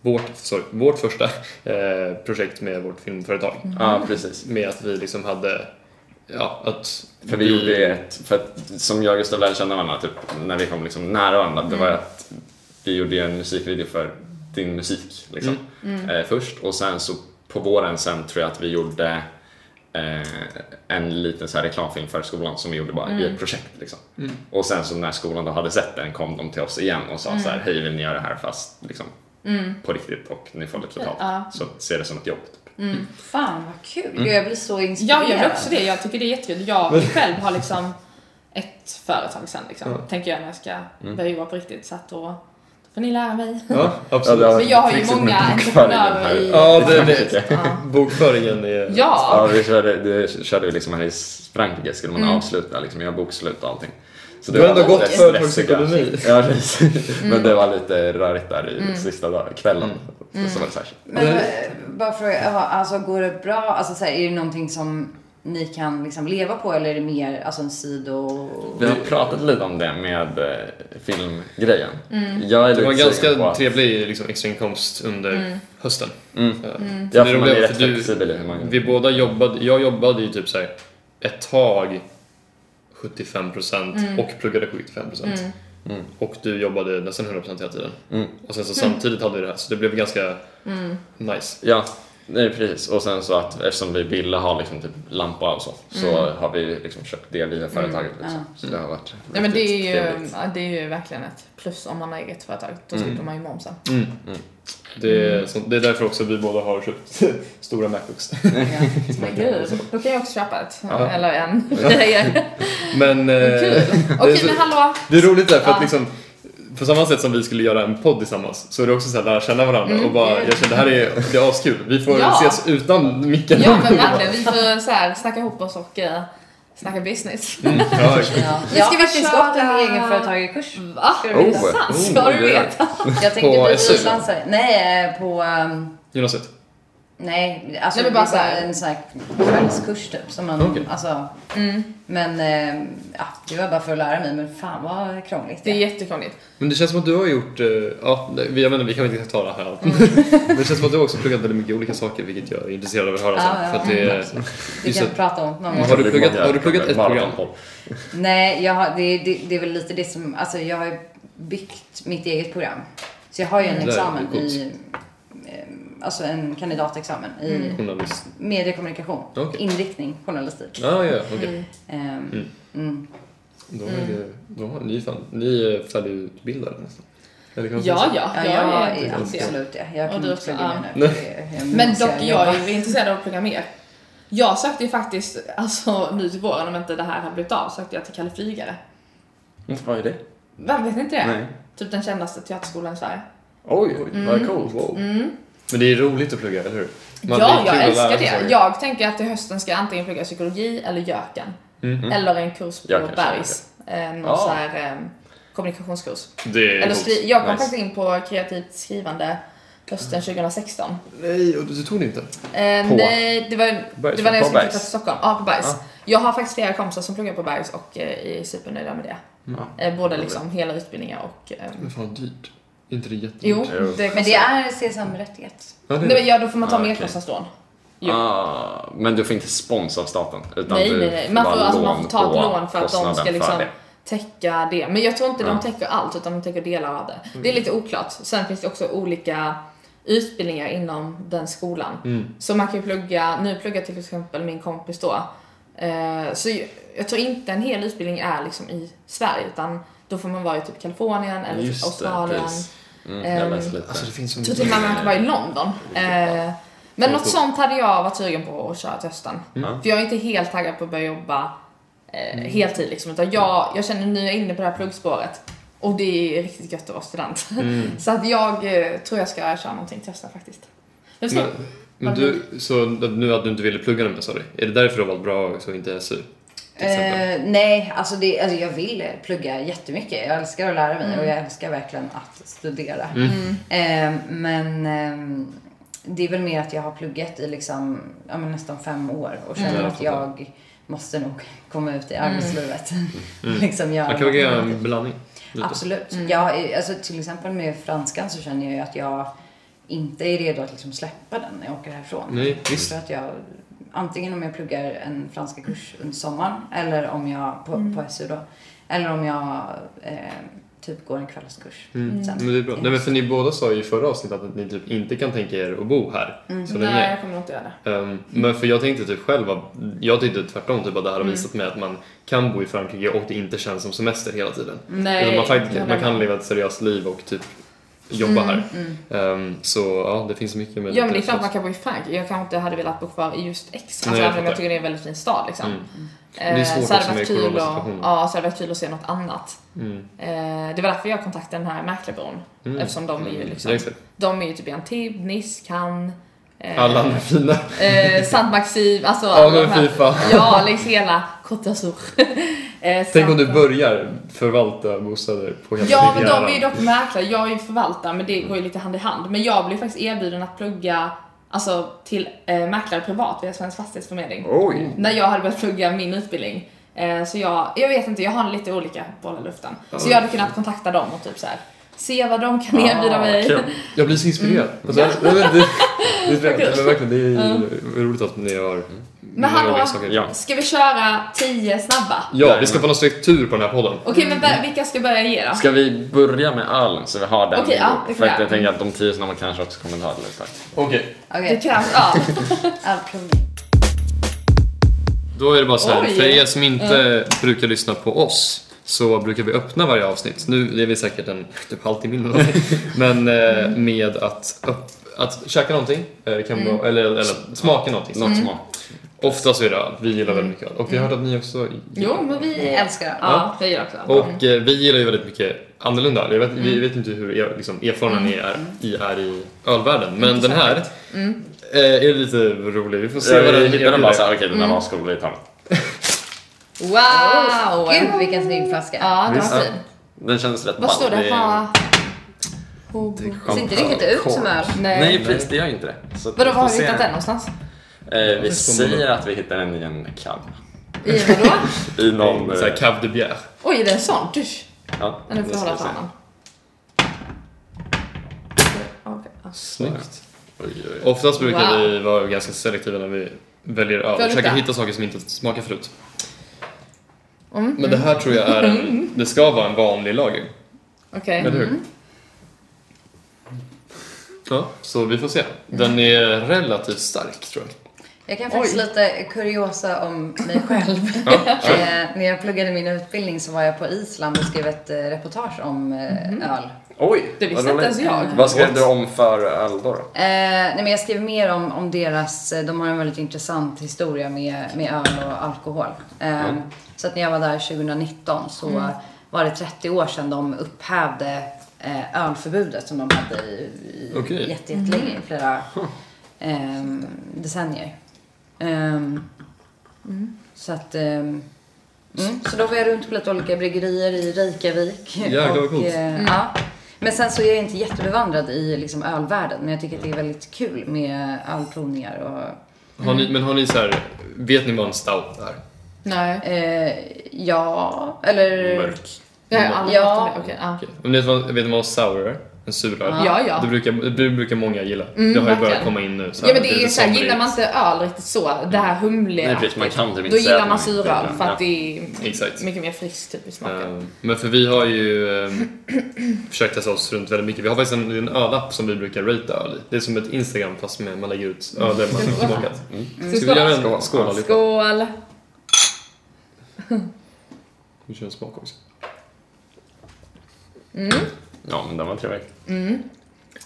vårt, sorry, vårt första eh, projekt med vårt filmföretag. Mm. Ja, precis. Med att vi liksom hade, ja, att För vi gjorde ju ett, för att, som jag och Gustav lärde känna varandra typ, när vi kom liksom nära varandra, det var ju att vi gjorde ju en musikvideo för din musik liksom, Eh, först och sen så på våren sen tror jag att vi gjorde eh, en liten så här reklamfilm för skolan som vi gjorde bara i ett projekt. Liksom. Och sen så när skolan då hade sett den kom de till oss igen och sa så här, hej vill ni göra det här fast liksom, på riktigt och ni får lite betalt. Mm. Ja. Mm. Så se det som ett jobb. Typ. Fan vad kul! Mm. Gud, jag blir så inspirerad. Ja, jag gör också det. Jag tycker det är jättekul. Jag själv har liksom ett företag sen liksom, tänker jag när jag ska börja jobba på riktigt. Så att då, då får ni lära mig. Ja, absolut. Men jag har ju många entreprenörer i... Ja, det, det, bokföringen är... Ja, Mm. Ja, vi körde, det körde vi liksom här i Frankrike, skulle man avsluta liksom, göra bokslut och allting. Så Du har ändå var gått lite företagsekonomi. stressiga. Ja, precis. Mm. Men det var lite rörigt där i sista dag, kvällen. Mm. Mm. Så var det så här. Men eh, bara för att, ja, alltså går det bra? Alltså så här, är det någonting som ni kan liksom leva på eller är det mer alltså en sido... Vi har pratat lite om det med eh, filmgrejen. Mm. Jag är Det var lite sugen på ganska att- trevlig liksom, extrainkomst under Mm. hösten. Eh, Ja, det för man roliga är var rätt för du- flexibel i Mm. hur man... Vi båda jobbade, jag jobbade ju typ så här ett tag 75% och pluggade 75% Mm. och du jobbade nästan 100% hela tiden. Mm. Och sen så samtidigt hade vi det här så det blev ganska nice. Ja, nej, precis. Och sen så att eftersom vi ville ha liksom typ lampa och så, så Mm. har vi liksom köpt det via företaget. Liksom. Så det har varit Nej, men det riktigt är, ju, trevligt. ja, det är ju verkligen ett plus om man har eget företag. Då slipper man ju momsen. Mm. Det är, så, det är därför också vi båda har köpt stora Macbooks. Men gud, då kan jag också köpa ett. Eller en. Det är Men eh, kul. det, är Okej, så, men hallå. det är roligt där för Ja. att liksom på samma sätt som vi skulle göra en podd tillsammans så är det också så här lära känna varandra och bara jag känner det här är, det är askul. Vi får Ja. ses utan micken. Ja, men verkligen. Vi får så här, snacka ihop oss och eh, snacka business. Ja, Ja. Ska Jag har vi faktiskt köra- gått en egenföretagarkurs. Va? Ska du Oh. veta? Sant, Oh, Ska du det är- veta? Jag tänkte På bli SU? frilansare. Nej, eh, på... ehm, Gymnasiet. Nej, alltså Nej, men det bara är så bara här- en sån här kvällskurs typ. Som man, Okej. alltså, Mm, Men eh, ja, det var bara för att lära mig, men fan vad krångligt Det är det är. jättekrångligt. Men det känns som att du har gjort, eh, ja, nej, vi- jag menar, vi kan väl inte ta det här allt. Men det känns som att du har också pluggat väldigt mycket olika saker, vilket jag är intresserad av att höra Ja, sen. ja, för att ja, det är, Vi just Mm. kan att- prata om det någon gång. Har du pluggat- har du pluggat ett program? Maratonpodd. Nej, jag har, det, det, det är väl lite det som, alltså jag har ju byggt mitt eget program. Så jag har ju en Mm. examen Det är coolt. i, eh, alltså en kandidatexamen i Mm. journalist. mediekommunikation, Okej. inriktning, journalistik. Ah, ja, okej. Mm. Ehm, mm. Då är det, då har ni fan, ni är färdigutbildade nästan. Eller kan man säga Ja, så? ja. Ja, Ah, Jag jag är är intresserad. absolut det. Jag Och kan du inte också, plugga ja. det nu. för det- jag Men måste dock, jobba. jag är ju intresserad av att plugga mer. Jag sökte ju faktiskt, alltså nu till våren om inte det här hade blivit av, sökte jag till Kalle Flygare. Mm, Vad är det? Vem vet ni inte det? Nej. Typ den kändaste teaterskolan i Sverige. Mm. Oj, vad coolt. Wow. Men det är roligt att plugga, eller hur? Man- ja, är kul att jag lära älskar sig det. saker. Jag tänker att till hösten ska jag antingen plugga psykologi eller göken. Eller en kurs på Göken, Bergs. Eh, någon Ja. så här, eh, kommunikationskurs. Det är Eller coolt. skri- jag kom Nice. faktiskt in på kreativt skrivande hösten 2016. Nej, och du tog det inte? Eh, På? nej, det var, Bergs, det var när jag på Bergs? skulle flytta till Stockholm. Ja, på Bergs. Jag har faktiskt flera kompisar som pluggar på Bergs och eh, är supernöjda med det. Ja. Eh, både liksom hela utbildningar och... Eh, Men fan, dyrt. Är inte det jättedyrt? jo, Jo. det Mm. Men det är CSAM-rättighet. Ja, det är Nej, men det. ja, då får man ta Ah, okej. merkostnadslån. Jo. Ah, men du får inte spons av staten? Utan Nej, du nej, nej. Man får, bara alltså, man får ta på ett lån för att de kostnaden ska för liksom det. täcka det. Men jag tror inte de Ja. täcker allt utan de täcker delar av det. Det Mm. är lite oklart. Sen finns det också olika utbildningar inom den skolan. Mm. Så man kan ju plugga, nu pluggar till exempel min kompis då. Eh, Så jag- jag tror inte en hel utbildning är liksom i Sverige utan då får man vara i typ Kalifornien eller typ Just det, Australien. precis. Mm, jag Ehm, läste lite. Alltså, det finns så Jag tror till och mycket. med man kan vara i London. Eh, men något sånt hade jag varit sugen på att köra till hösten. Ja. För jag är inte helt taggad på att börja jobba eh, heltid liksom. Utan jag, jag känner nu är jag inne på det här pluggspåret. Och det är riktigt gött att vara student. så att jag eh, tror jag ska köra någonting till hösten faktiskt. Men, Men, men, men du, så nu att du inte ville plugga den med, sa du? Är det därför du har valt bra också och inte SU? Till exempel? Eh, nej, alltså, det, alltså jag vill plugga jättemycket. Jag älskar att lära mig Mm. och jag älskar verkligen att studera. Eh, men ehm, det är väl mer att jag har pluggat i liksom, ja, men nästan fem år och känner Mm. att jag måste nog komma ut i arbetslivet. liksom göra Mm. Man kan väl något göra annat. en blandning? lite. Absolut. Mm. Jag, är- alltså, till exempel med franskan så känner jag ju att jag inte är redo att liksom släppa den när jag åker härifrån. Nej, visst. För att jag, antingen om jag pluggar en franska kurs under sommaren eller om jag på, Mm. på SU då. Eller om jag eh, typ går en kvällskurs. Sen. Men det är bra. Nej, men för ni båda sa ju i förra avsnittet att ni typ inte kan tänka er att bo här så Mm, nej, länge. jag kommer nog inte göra det. Ehm, men för jag tänkte typ själv att, jag tyckte tvärtom typ att det här har Mm. visat mig att man kan bo i Frankrike och det inte känns som semester hela tiden. Nej, Utan Alltså, man, faktiskt, jag man håller kan med. leva ett seriöst liv och typ jobba här. Ehm, så ja, det finns mycket med mm. Ja men det är klart man kan bo i Frankrike. Jag kanske inte hade velat bo kvar i just X. Nej, Alltså jag även om fattar. jag tycker det är en väldigt fin stad liksom. Mm. Eh, Det är svårt så hade också det varit med kul att, coronasituationen. Ja, så hade det varit kul att se något annat. Mm. Eh, det var därför jag kontaktade den här mäklarbyrån. Mm. Eftersom de är ju liksom, Ja, exakt. de är ju typ i Antibes, Nice, Cannes, eh, Alla andra fina. eh, Saint Maxime, alltså Ja alla de men här- fy fan. Ja, längs hela Côte d'Azur. Eh, Tänk om Saint- du börjar förvalta bostäder på hela Ja, men de Rivieran. är ju dock mäklare. Jag är ju förvaltare, men det går ju lite hand i hand. Men jag blev faktiskt erbjuden att plugga alltså, till eh, mäklare privat via Svensk Fastighetsförmedling. Oj! när jag hade börjat plugga min utbildning. Eh, Så jag, jag vet inte, jag har lite olika bollar i luften. Så jag hade kunnat kontakta dem och typ så här. se vad de kan erbjuda mig. Ah, kul. Jag blir så inspirerad. Mm. Alltså, nej, men det, det, det, det, men verkligen, det är roligt att ni har... ni har hallå? olika saker. Ja. Ska vi köra 10 snabba? Ja, vi ska få någon struktur på den här podden. Okej, men vä- vilka ska börja ge då? Ska vi börja med ölen så vi har den? Okej, ja, det kan För vi att göra. jag tänker att de tio snabba kanske också kommer ta det lite. Okej. Det Okej, krävs, ja. all pluggning. Då är det bara så här, Oj. för er som inte brukar lyssna på oss så brukar vi öppna varje avsnitt. Nu är vi säkert en typ halvtimme in eller någonting. Men eh, med att, upp, att käka någonting, eh, det kan Mm. vara, eller, eller smaka någonting. Något smak. Ofta så är det öl. Vi gillar väldigt mycket öl. Och vi har hört att ni också Mm. Jo, men vi Jag älskar det. Ja, det gör jag också. Och eh, vi gillar ju väldigt mycket annorlunda öl. Jag vet, Vi Mm. vet inte hur er, liksom, erfarna ni är i, är i ölvärlden. Men den här Mm. eh, är lite rolig. Vi får se vad den Vi hittar den bara erbjuder. såhär, okej den Mm. här var skrolig, vi tar den. Wow! Gud vilken snygg flaska. Ja, det var Visst. fint. Den känns rätt Vad står ball. det? är- Ha... Ho- Det ser inte riktigt ut som öl. Nej. Nej precis, det gör ju inte det. Så att Vadå, vi var har får vi se. hittat den någonstans? Eh, vi Det står säger att vi hittar den i en cab. I vadå? I någon... Så här, eh, Cave de Bière. Oj, är det en sån? Dusch. Ja, Ja, Nu får nu jag ska hålla vi se. fanan. Okej. Snyggt. Oj, oj, oj. Oftast brukar Wow. vi vara ganska selektiva när vi väljer öl. Får jag Försöker lukta? hitta saker som inte smakar förut. Mm. Men det här tror jag är en, det ska vara en vanlig lager. Okej. Eller hur? Ja, så vi får se. Den är relativt stark tror jag. Jag kan faktiskt lite kuriosa om mig själv. eh, när jag pluggade min utbildning så var jag på Island och skrev ett eh, reportage om eh, öl. Oj! Det visste vad inte roligt. Mm. ens jag. Vad skrev du om för Aldo då? Eh, nej men jag skrev mer om, om deras, eh, de har en väldigt intressant historia med, med öl och alkohol. Eh, Så att när jag var där 2019 så Mm. var det 30 år sedan de upphävde eh, ölförbudet som de hade i, i Okej. jätte, jättelänge, i flera ehm, decennier. Ehm, Så att, ehm, mm, så då var jag runt på lite olika bryggerier i Reykjavik. Jäklar, vad coolt. eh, Mm. ja. Mm. Men sen så är jag inte jättebevandrad i liksom ölvärlden, men jag tycker att det är väldigt kul med ölprovningar och Har Mm. ni, men har ni så här, vet ni vad en stout är? Nej. eh, ja, Eh, eller Mörk. Jag har aldrig Ja. haft det. Okej, ja. Okej. Om ni vet, vad, vet ni vad en sour är? En suröl? Ja, ja. Mm, Det brukar, det brukar många gilla. det har ju börjat verkligen. komma in nu. så Ja men här, det är lite ju såhär, somrig. gillar man inte öl riktigt så, det här humliga. Nej, precis, man kan typ då inte säga gillar att man man inte suröl gillar för att den. det är Exakt. mycket mer friskt typ i smaken. Eh, Men för vi har ju eh, försökt testa oss runt väldigt mycket. Vi har faktiskt en, en ölapp som vi brukar rate öl i. Det är som ett Instagram fast med, man lägger ut öler man har smakat. Ska Ska vi göra en skål, Skål. skål allihopa? Mm. Skål! Vi kör en smak också. Ja, men den var trevlig.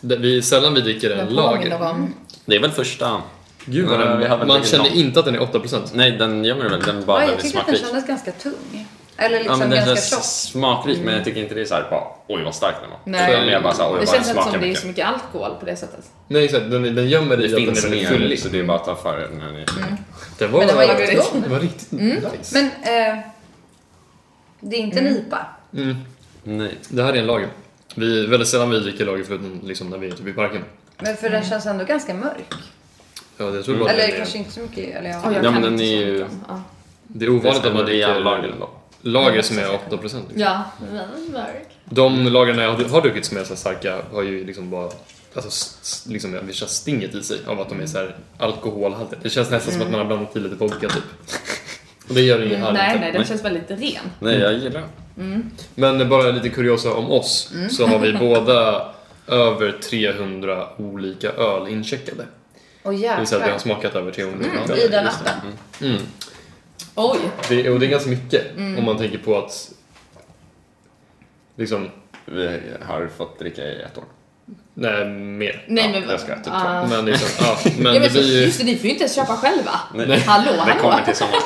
Det, vi, sällan vi dricker en Den påminner lager. om... Det är väl första... Gud vad Nej, vi har den, väl man druckit känner någon. inte att den är 8%. Nej, den gömmer väl. Den är bara Ja, jag väldigt tyckte att den smakrik. kändes ganska tung. Eller Ja, liksom men den ganska känns tjock. smakrik, men jag tycker inte det är såhär bara oj vad stark den var. Mm. Nej. Utan mer bara såhär Alltså, oj Det vad den känns inte smakar som det är mycket. så mycket alkohol på det sättet. Nej exakt, den, den gömmer i Det att den är finns väldigt mer, fyllig. så det är bara att ta för den. Här. Den var, Men den var Mm. jättegod. den var riktigt nice. Men eh, det är inte Mm. en IPA. Nej. Mm. Det här är en lager. Vi, väldigt sällan vi dricker lager förutom liksom när vi är typ i parken. Men för Mm. den känns ändå ganska mörk. Ja, jag tror bara Eller det, kanske är, inte så mycket. Eller, ja. Oj, jag Ja, kan men den inte är ju- sånt. Ja. det är ovanligt att man det är dricker lager lager, ändå. lager som är 8%. Liksom. Ja, men mörk. De lagren jag har- har druckit som är så här starka har ju liksom bara Alltså, s- s- liksom, vissa stinget i sig av att de är så här alkoholhaltiga. Det känns nästan som att man har blandat i lite vodka typ. Och det gör ingen här Nej, inte. nej, den känns väldigt ren. Nej, jag gillar den. Men bara lite kuriosa om oss. Så har vi båda över 300 olika öl incheckade. Och Det vill säga att vi har jäklar. smakat över 300 Mm. olika öl. I den Just det. appen. Oj! Det, och det är ganska mycket om man tänker på att liksom, Vi har fått dricka i ett år. nej mer. Nej Ja, men... jag ska typ ta. Ah. Men liksom, ja, men ja, det men så, blir ju just det, ni får ju inte ens köpa själva. Nej. Hallå, Det hallå. kommer till sommaren.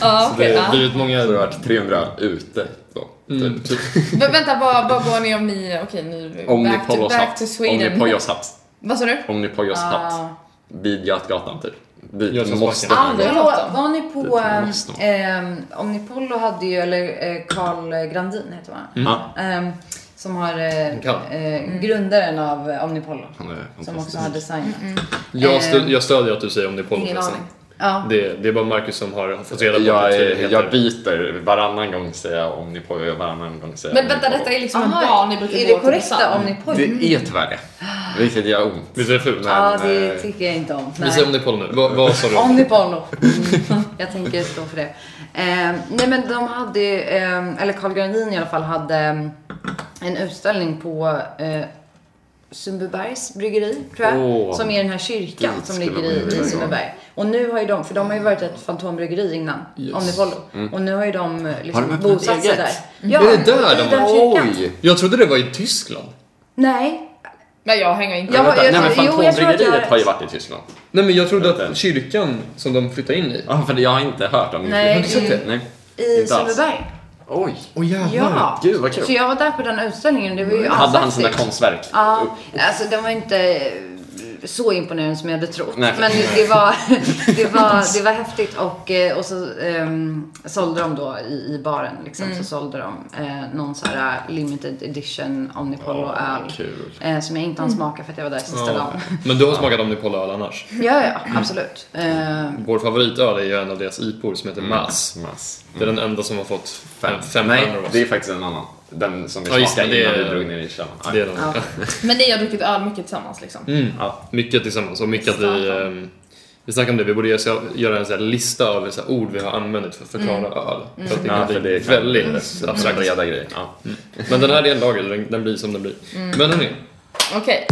Ja, det okej, är ja. blivit många... Så det har varit 300 ute då. Mm, typ. Men vänta, vad, vad går ni om ni... Okej, nu... Om back, ni to, på oss back to hatt. Om ni Sweden. på oss hatt. Vad sa du? Om ni på oss hatt. Ah. Vid Götgatan typ. Dit Götgatsbacken. måste Ah, man det gå. är- Var, var ni på... Det måste vara. ehm, Omnipollo hade ju, eller eh, Carl Grandin heter han. Ja, Ehm, som har Carl. eh, eh, grundaren av eh, Omnipollo. han är Som också fantastisk. har designat. Mm, Jag, stö- jag stödjer att du säger om det är Polo Ingen förresten. aning. Ehm, Ja. Det, det är bara Marcus som har fått reda på Jag, att det är, heter. jag byter varannan gång säger jag om ni på och varannan gång säger jag Men om vänta, ni på. detta är liksom Aha, en bar ni brukar Är gå det till korrekta tillsammans? Omnipollo? Det är tyvärr det. Vilket gör ont. Visst är det fult? Nej. Ja, Men, det eh, tycker jag inte om. Vi säger om det är Polo nu. Vad, vad sa du? Omnipollo. Mm. Jag tänker stå för det. Eh, nej men de hade, eh, eller Carl Grandin i alla fall, hade eh, en utställning på eh, Sundbybergs bryggeri, tror jag. Åh. som är den här kyrkan Dit som skulle ligger man ju i, vilja i gå. Sundbyberg. Och nu har ju de, för de har ju varit ett fantombryggeri innan, Yes. Omnipollo. Och nu har ju de Mm. eh, Har liksom de öppnat bosatt sig eget? Mm. där. Ja, Är det där i de- den kyrkan. Oj! Jag trodde det var i Tyskland. Nej. Nej, jag hänger inte Jag med. har- Vänta, nej men jo, jag tror att jag- Fantombryggeriet har ju varit i Tyskland. Nej men jag trodde Vänta. att kyrkan som de flyttade in i. Ja, för jag har inte hört om Nej, Har du sett i- Mm. det? Nej. I Inte alls. Sundbyberg. Oj. Åh jävlar. Ja. Gud, vad kul. Så jag var där på den utställningen. Det var ju Hade han sina ashäftigt. konstverk? Ja, upp? alltså den var inte eh, så imponerande som jag hade trott. Nej. Men det var, det, var, det var häftigt och, eh, och så um, sålde de då i, i baren liksom, så sålde de eh, någon så här limited edition Omnipollo-öl. kul. eh, som jag inte hann smaka för att jag var där sista dagen. Men du har smakat Omnipollo-öl annars? Ja, ja, absolut. Eh, Vår favoritöl är ju en av deras IPOR som heter Mass. Mass. Det är den enda som har fått Mm. fem, fem Nej, stjärnor av oss. det är faktiskt en annan. Den som vi Ja, just smakade det, det innan är- vi drog ner i källaren. Ja. Det är den. Ja. Men ni har druckit öl mycket tillsammans liksom? Mm. Ja. Mycket tillsammans och mycket att vi... ehm, vi snackade om det, vi borde göra så- göra en så här lista över så här ord vi har använt för att förklara Mm. öl. För att det Ja, kan för bli det kan- väldigt Så abstrakt. breda grejer. Ja. Men den här är en lager, den, den blir som den blir. Mm. Men hörni, Okej.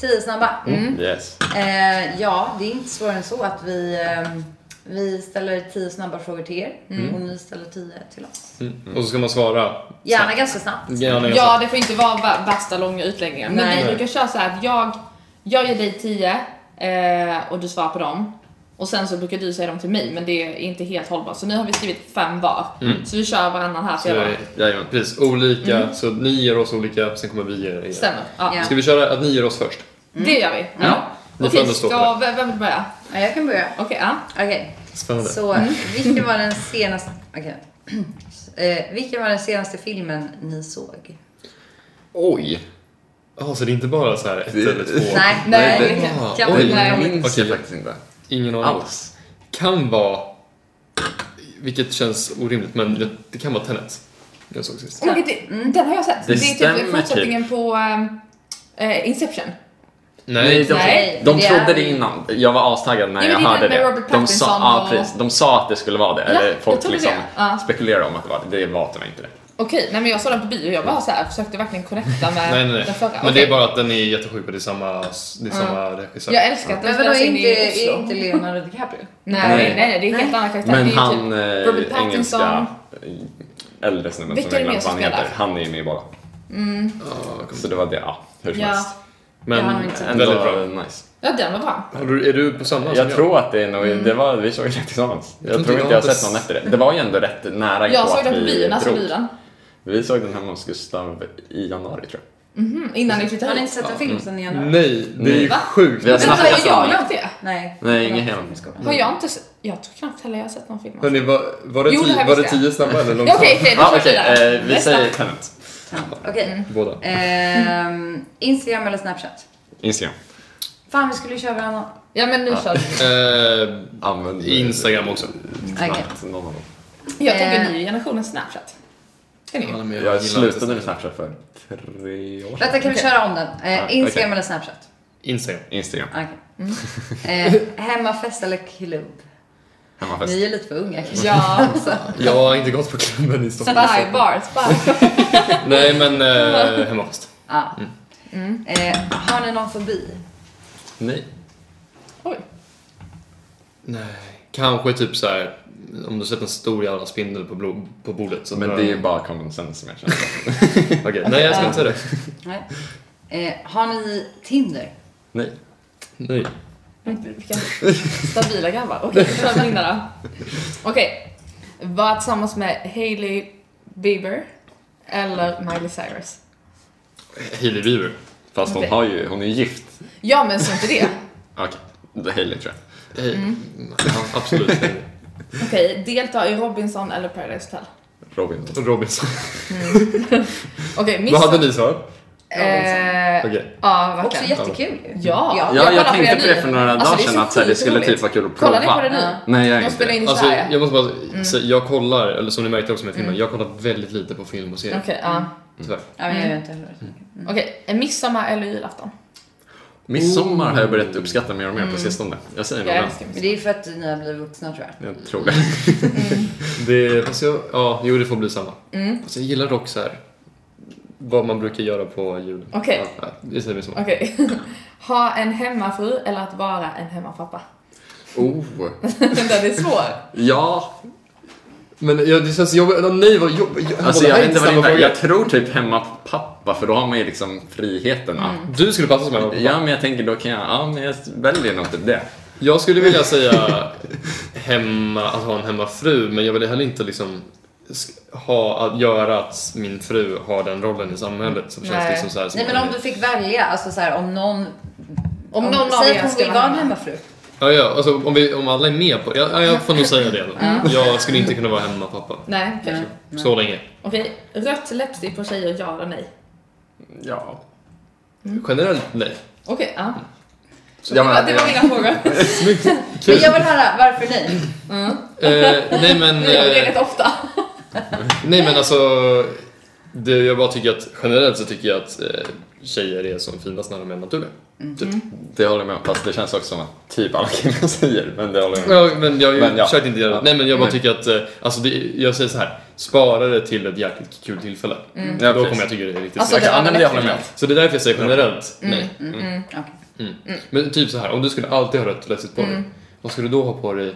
tio snabba. Yes. Mm. Mm. Mm. Eh, ja, det är inte svårare än så att vi, eh, Vi ställer tio snabba frågor till er och ni ställer tio till oss. Och så ska man svara. Gärna ganska snabbt. Gärna ganska- Ja, det får inte vara va- värsta långa utläggningar. Men Nej. vi Nej. brukar köra så här att jag, jag ger dig 10 eh, och du svarar på dem. Och sen så brukar du säga dem till mig, men det är inte helt hållbart. Så nu har vi skrivit fem var. Så vi kör varannan här. Så jag bara, Så- Jajamän. Precis, olika. Så ni ger oss olika, sen kommer vi ge er. stämmer. Ja. Mm. Ja. Ska vi köra att ni ger oss först? Det gör vi. Ja. Ni får Okej, ändå stå för ska, vem vem vill börja? Ja, jag kan börja. Okej, ja. Okej. Spännande. Mm. Så, vilken var den senaste... Okej. Eh, vilken var den senaste filmen ni såg? Oj! Ja, så det är inte bara så här ett Det- eller två? Nej, Nej, nej. det- Ah, kan oj, vi- Jag nej. minns Okej. jag faktiskt inte Ingen aning. alls. Kan vara, vilket känns orimligt, men det, det kan vara Tenet. Jag såg sist. Oh my God, det, Den har jag sett. Det Det, är typ stämmer fortsättningen på ehm, eh, Inception. Mm. Nej, de, Nej, de det trodde är- det innan. Jag var astaggad när Nej, jag men det är hörde med det. Robert De sa, Pattinson ja, och- precis, de sa att det skulle vara det. Ja, Eller jag folk trodde liksom det. Ja. spekulerade om att det var det. Det var det inte det. Okej, nej men jag såg den på bio och jag bara så här, försökte verkligen connecta med nej, nej. nej. den förra. Men det Okej. är bara att den är jättesjuk och det är samma, det är samma regissör. Jag älskar att den Men vadå, spelas är in inte, i Oslo. är inte typ- Leonardo DiCaprio? Nej, nej, nej, det är helt annan karaktär. Men det är han, typ eh, Robert Pattinson. engelska eh, äldre snubben Vilka som är jag det mer glömt vad som han heter, spelar? han är ju med i båda. Ja, kom. Så det var det, ja. Hur som Ja. helst. Men har nog inte sett Ändå väldigt bra. nice. ja, den var bra. Har du, är du på samma som Jag tror att det är nog, Mm. det var, vi såg det tillsammans. Jag, tror inte jag har sett någon efter det. Det var ju ändå rätt nära Jag såg att den på vi bio, när såg drog. du den? Vi såg den hemma hos Gustav i januari tror jag. Mm, innan ni Har flyttade ni hit. inte sett en film sen i januari? Nej, det är ju Va? sjukt. Vi har Vänta, snackat har jag om det. gjort det? Nej. Nej, ingen hel. Har jag inte sett? Jag tror knappt heller jag har sett någon film. alltså. Hörni, var, var, det Jo, det tio, här var det visste tio snabba eller Ja, långsamma? Okej, okej, då Ja, kör vi okej, vidare. eh, vi Nästa. säger Tenet. Okej. Båda. Ehm, Instagram eller Snapchat? Instagram. Fan, vi skulle ju köra varannan. Ja, men nu kör vi. Eh, Använd Instagram också. Snabbt, någon av dem. Jag tänker Eh. ny generationen Snapchat. Ska ni? Jag slutade med Snapchat för tre år sedan. Vänta, kan vi köra om den? Eh, Ja, Instagram okej. eller Snapchat? Instagram. Instagram. Okej. Mm. Eh, hemmafest eller klubb? Hemmafest. Ni är lite för unga kanske. Ja, Jag har inte gått på klubben i Stockholm. spy, bar, spy. Nej, men eh, hemmafest. Ja. Ah. Mm. Eh, har ni någon fobi? Nej. Oj. Nej. Kanske typ så här om du sett en stor jävla spindel på, blod, på bordet. Så Men drar det är jag- ju bara common sense som jag känner. Okej, Nej, jag ska inte säga det. Nej. Eh, har ni Tinder? Nej. Nej. Vilka stabila grabbar. Okej, då kör vi in där då. Okej. Var tillsammans med Hailey Bieber eller Miley Cyrus? Hailey Bieber. Fast hon Okej. har ju, hon är ju gift. Ja, men så inte det. Okej, okay. Hailey tror jag. Hej. Mm. Ja, absolut. Okej, delta i Robinson eller Paradise Hotel? Robin. Robinson. Okej, miss... Vad hade ni svarat? Eh, Okej. Ja, Också verkligen. jättekul ju. Ja, Ja, Ja, jag, kollar tänkte på det nu. för några Alltså, dagar det är sedan så att så här, det skulle otroligt. typ vara kul att prova. Kollar ni på det Ja. nu? Nej, jag gör De inte spelar in det. i Alltså, Sverige. jag måste bara Mm. säga, jag kollar, eller som ni märkte också med filmen, jag kollar väldigt lite på film och serier. Okej, ja. Tyvärr. Ja, men jag gör inte heller. Okej, midsommar eller julafton? Midsommar har jag börjat Mm. uppskatta mer och mer på sistone. Jag säger nog Jag den. älskar Men midsommar. det är ju för att ni har blivit vuxna tror jag. Jag tror det. Det, fast jag, ja, jo det får bli samma. Mm. Fast jag gillar dock så här vad man brukar göra på jul. Okej. Ja, nej, det säger vi så. Okej. Ha en hemmafru eller att vara en hemmapappa? Oh. Den är svår. Ja. Men ja, det känns jobbigt, eller nej vad jobbigt. Alltså det jag här vet inte vad samma det är. fråga. Jag tror typ hemmapappa för då har man ju liksom friheten. att- Du skulle passa som Mm. en Ja men jag tänker då kan jag, ja men jag väljer nog typ det. Jag skulle vilja säga hemma, att ha en hemmafru, men jag vill heller inte liksom sk- ha att göra att min fru har den rollen i samhället som känns Nej. liksom så Alltså, här, som Nej men om du fick välja, alltså så här, om någon... Om någon av säg er att hon skulle vill vara en hamna. hemmafru. Ja, ja, alltså om, vi, om alla är med på det. Ja, jag får nog säga det då. Jag skulle inte kunna vara hemmapappa. Nej, okej. Nej. Så länge. Okej, rött läppstift på tjejer, ja eller nej? Ja. Mm. Generellt nej. Okej, ja. Ja, men- det var mina frågor. Men jag vill höra, varför Mm. nej? Eh, nej men... Jag gör det Eh, rätt ofta. nej men alltså... Det, jag bara tycker att generellt så tycker jag att eh, tjejer är som finast när de är naturliga. Mm. Det håller jag med om. Fast det känns också som att typ alla killar säger. Men det håller jag med om. Ja, men jag har ju Men ja. försökt inte göra det. Ja. Nej men jag bara Nej. tycker att, eh, alltså det, jag säger så här. Spara det till ett jäkligt kul tillfälle. Ja, Då precis. kommer jag tycka det är riktigt Mm. Alltså, snyggt. det- Mm. Ja, men det håller jag med om. Så det är därför jag säger generellt nej. Okej. Men typ så här, om du skulle alltid ha rött lästigt på dig, vad skulle du då ha på dig